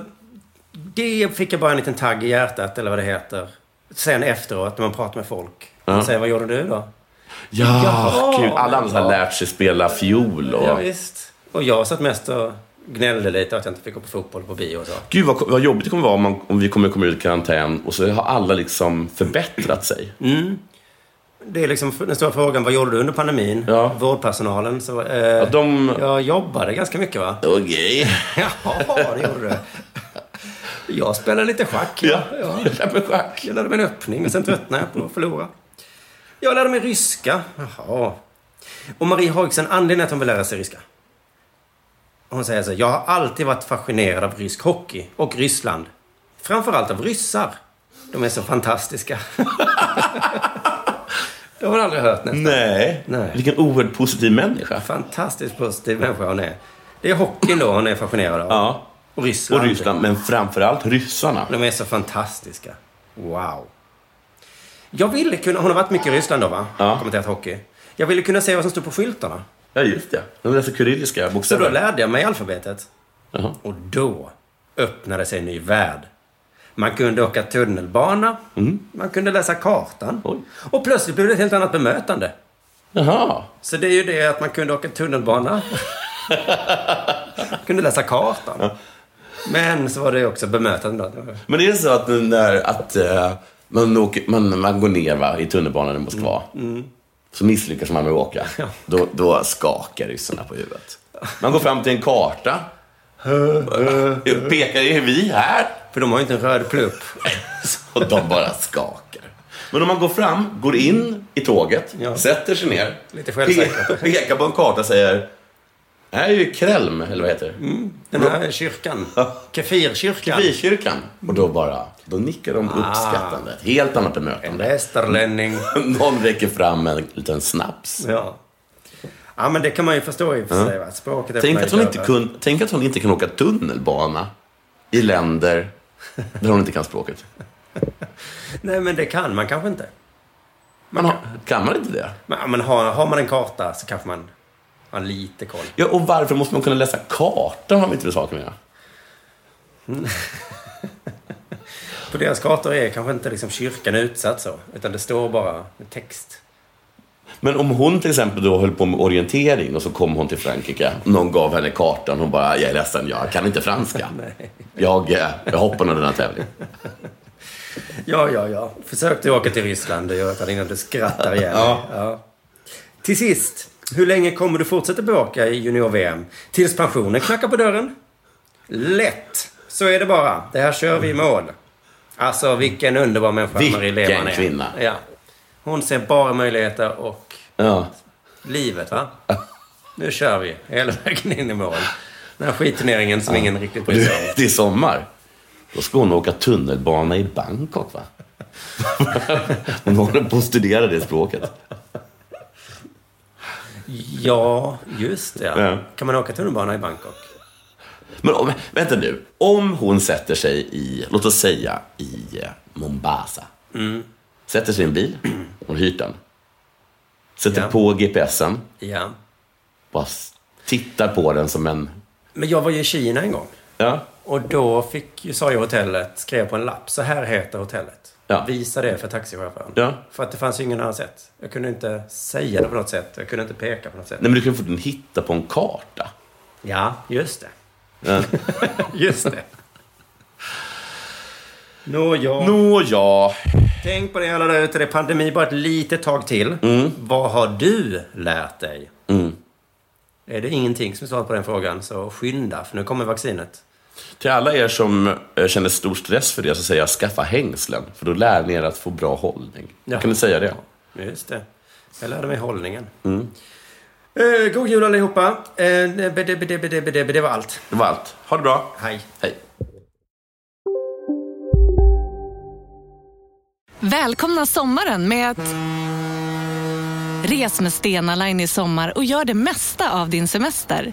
[SPEAKER 7] det fick jag bara en liten tagg i hjärtat, eller vad det heter. Sen efteråt, när man pratar med folk.
[SPEAKER 9] Ja.
[SPEAKER 7] De säger, vad gjorde du då?
[SPEAKER 9] Ja,
[SPEAKER 7] Ja.
[SPEAKER 9] gud. Alla andra har lärt sig spela fiol. Och...
[SPEAKER 7] Ja, visst. Och jag satt mest och gnällde lite att jag inte fick gå på fotboll på bio och så.
[SPEAKER 9] Gud vad, vad jobbigt det kommer vara om, man, om vi kommer komma ut i karantän och så har alla liksom förbättrat sig.
[SPEAKER 7] Mm. Det är liksom den stora frågan, vad gjorde du under pandemin? Ja. Vårdpersonalen. Så, eh,
[SPEAKER 9] de...
[SPEAKER 7] Jag jobbade ganska mycket va?
[SPEAKER 9] Okej.
[SPEAKER 7] ja, det gjorde du. Jag spelade lite schack. Ja, ja. Jag
[SPEAKER 9] lärde mig schack.
[SPEAKER 7] Jag lärde mig en öppning, men sen tröttnade jag på att förlora. Jag lärde mig ryska. Jaha. Och Marie Haugsen, anledningen att hon vill lära sig ryska. Hon säger så här, jag har alltid varit fascinerad av rysk hockey och Ryssland. Framförallt av ryssar. De är så fantastiska. det har man aldrig hört nästan.
[SPEAKER 9] Nej. Vilken oerhört positiv människa.
[SPEAKER 7] Fantastiskt positiv människa hon är. Det är hockeyn då hon är fascinerad av.
[SPEAKER 9] Ja.
[SPEAKER 7] Och Ryssland.
[SPEAKER 9] Och Ryssland, men framförallt ryssarna.
[SPEAKER 7] De är så fantastiska. Wow. Jag ville kunna... Hon har varit mycket i Ryssland då, va? Ja. Kommenterat hockey. Jag ville kunna se vad som stod på skyltarna.
[SPEAKER 9] Ja, just det. De läser kyrilliska
[SPEAKER 7] Så
[SPEAKER 9] bokstäver.
[SPEAKER 7] då lärde jag mig alfabetet. Och då öppnade sig en ny värld. Man kunde åka tunnelbana. Man kunde läsa kartan. Och plötsligt blev det ett helt annat bemötande.
[SPEAKER 9] Jaha.
[SPEAKER 7] Så det är ju det att man kunde åka tunnelbana. kunde läsa kartan. Men så var det också bemötande. då.
[SPEAKER 9] Men är det så att, den där, att eh, man, åker, man, man går ner va, i tunnelbanan i Moskva,
[SPEAKER 7] Mm.
[SPEAKER 9] så misslyckas man med att åka. Då, då skakar ryssarna på huvudet. Man går fram till en karta. Pekar, är vi här?
[SPEAKER 7] För de har ju inte en röd plupp.
[SPEAKER 9] Så de bara skakar. Men om man går fram, går in i tåget, sätter sig ner,
[SPEAKER 7] Lite självsäker.
[SPEAKER 9] pe- pekar på en karta och säger det här är ju Krelm, eller vad heter det?
[SPEAKER 7] Den här kyrkan. Kefirkyrkan.
[SPEAKER 9] Kefirkyrkan. Och då bara, då nickar de uppskattande. Ett helt annat bemötande. En
[SPEAKER 7] västerlänning.
[SPEAKER 9] Någon räcker fram en liten snaps.
[SPEAKER 7] Ja. Ja, men det kan man ju förstå i och för sig. Va? Språket
[SPEAKER 9] Tänk
[SPEAKER 7] öppnar
[SPEAKER 9] att,
[SPEAKER 7] ju
[SPEAKER 9] hon inte
[SPEAKER 7] dörrar.
[SPEAKER 9] kun, tänk att hon inte kan åka tunnelbana i länder där hon inte kan språket.
[SPEAKER 7] Nej, men det kan man kanske inte.
[SPEAKER 9] Man har, kan man inte det?
[SPEAKER 7] Men, men har, har man en karta så kanske man har lite koll.
[SPEAKER 9] Ja, och varför måste man kunna läsa kartan om inte vill saker med?
[SPEAKER 7] På deras kartor är kanske inte liksom kyrkan utsatt så, utan det står bara med text.
[SPEAKER 9] Men om hon till exempel då höll på med orientering och så kom hon till Frankrike. Någon gav henne kartan. Hon bara, jag är ledsen, jag kan inte franska. jag, eh, jag hoppar under den här tävlingen.
[SPEAKER 7] Ja, ja, ja. Försökte åka till Ryssland, det gör att innan du skrattar igen.
[SPEAKER 9] Ja.
[SPEAKER 7] Ja. Till sist, hur länge kommer du fortsätta bevaka i junior-VM? Tills pensionen knackar på dörren? Lätt! Så är det bara. Det här kör vi i mål. Alltså, vilken underbar människa Marie Lehmann är.
[SPEAKER 9] Vilken kvinna.
[SPEAKER 7] Ja. Hon ser bara möjligheter och
[SPEAKER 9] Ja.
[SPEAKER 7] livet, va? Nu kör vi hela vägen in i mål. Den här skitturneringen som ingen riktigt
[SPEAKER 9] Och
[SPEAKER 7] bryr sig om.
[SPEAKER 9] det, det är sommar. Då ska hon åka tunnelbana i Bangkok, va? hon håller på att studera det språket.
[SPEAKER 7] Ja, just det.
[SPEAKER 9] Ja.
[SPEAKER 7] Kan man åka tunnelbana i Bangkok?
[SPEAKER 9] Men om, vänta nu. Om hon sätter sig i, låt oss säga i eh, Mombasa. Sätter sig i en bil. Hon har hyrt den. Sätter
[SPEAKER 7] Ja.
[SPEAKER 9] på GPSen.
[SPEAKER 7] Ja.
[SPEAKER 9] Bara s- tittar på den som en...
[SPEAKER 7] Men jag var ju i Kina en gång.
[SPEAKER 9] Ja.
[SPEAKER 7] Och då fick, ju- sa ju hotellet, skrev på en lapp, så här heter hotellet. Visa det för taxichauffören.
[SPEAKER 9] Ja.
[SPEAKER 7] För att det fanns ju ingen annan sätt. Jag kunde inte säga det på något sätt. Jag kunde inte peka på något sätt.
[SPEAKER 9] Nej, men du kan ju fortfarande hitta på en karta.
[SPEAKER 7] Ja, just det.
[SPEAKER 9] Ja.
[SPEAKER 7] Just det. Nåja.
[SPEAKER 9] Nåja.
[SPEAKER 7] Tänk på det alla där ute. Det är pandemi bara ett litet tag till. Vad har du lärt dig?
[SPEAKER 9] Mm.
[SPEAKER 7] Är det ingenting som är svaret på den frågan, så skynda, för nu kommer vaccinet.
[SPEAKER 9] Till alla er som eh, känner stor stress för det så säger jag skaffa hängslen. För då lär ni er att få bra hållning.
[SPEAKER 7] Ja.
[SPEAKER 9] Kan ni säga det?
[SPEAKER 7] Just det. Jag lärde mig hållningen.
[SPEAKER 9] Mm.
[SPEAKER 7] Eh, god jul allihopa. Eh, det, det, det, det, det, det var allt.
[SPEAKER 9] Det var allt. Ha det bra.
[SPEAKER 7] Hej.
[SPEAKER 9] Hej.
[SPEAKER 13] Välkomna sommaren med att... Res med Stena Line i sommar och gör det mesta av din semester.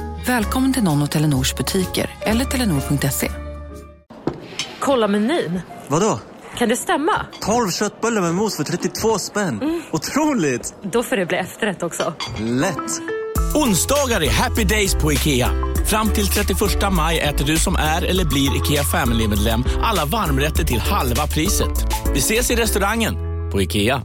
[SPEAKER 14] Välkommen till någon av Telenors butiker eller telenor.se.
[SPEAKER 15] Kolla menyn.
[SPEAKER 16] Vadå?
[SPEAKER 15] Kan det stämma?
[SPEAKER 16] 12 köttbullar med mos för 32 spänn. Otroligt!
[SPEAKER 15] Då får det bli efterrätt också.
[SPEAKER 16] Lätt!
[SPEAKER 17] Onsdagar är happy days på IKEA. Fram till 31 maj äter du som är eller blir IKEA Family-medlem alla varmrätter till halva priset. Vi ses i restaurangen på IKEA.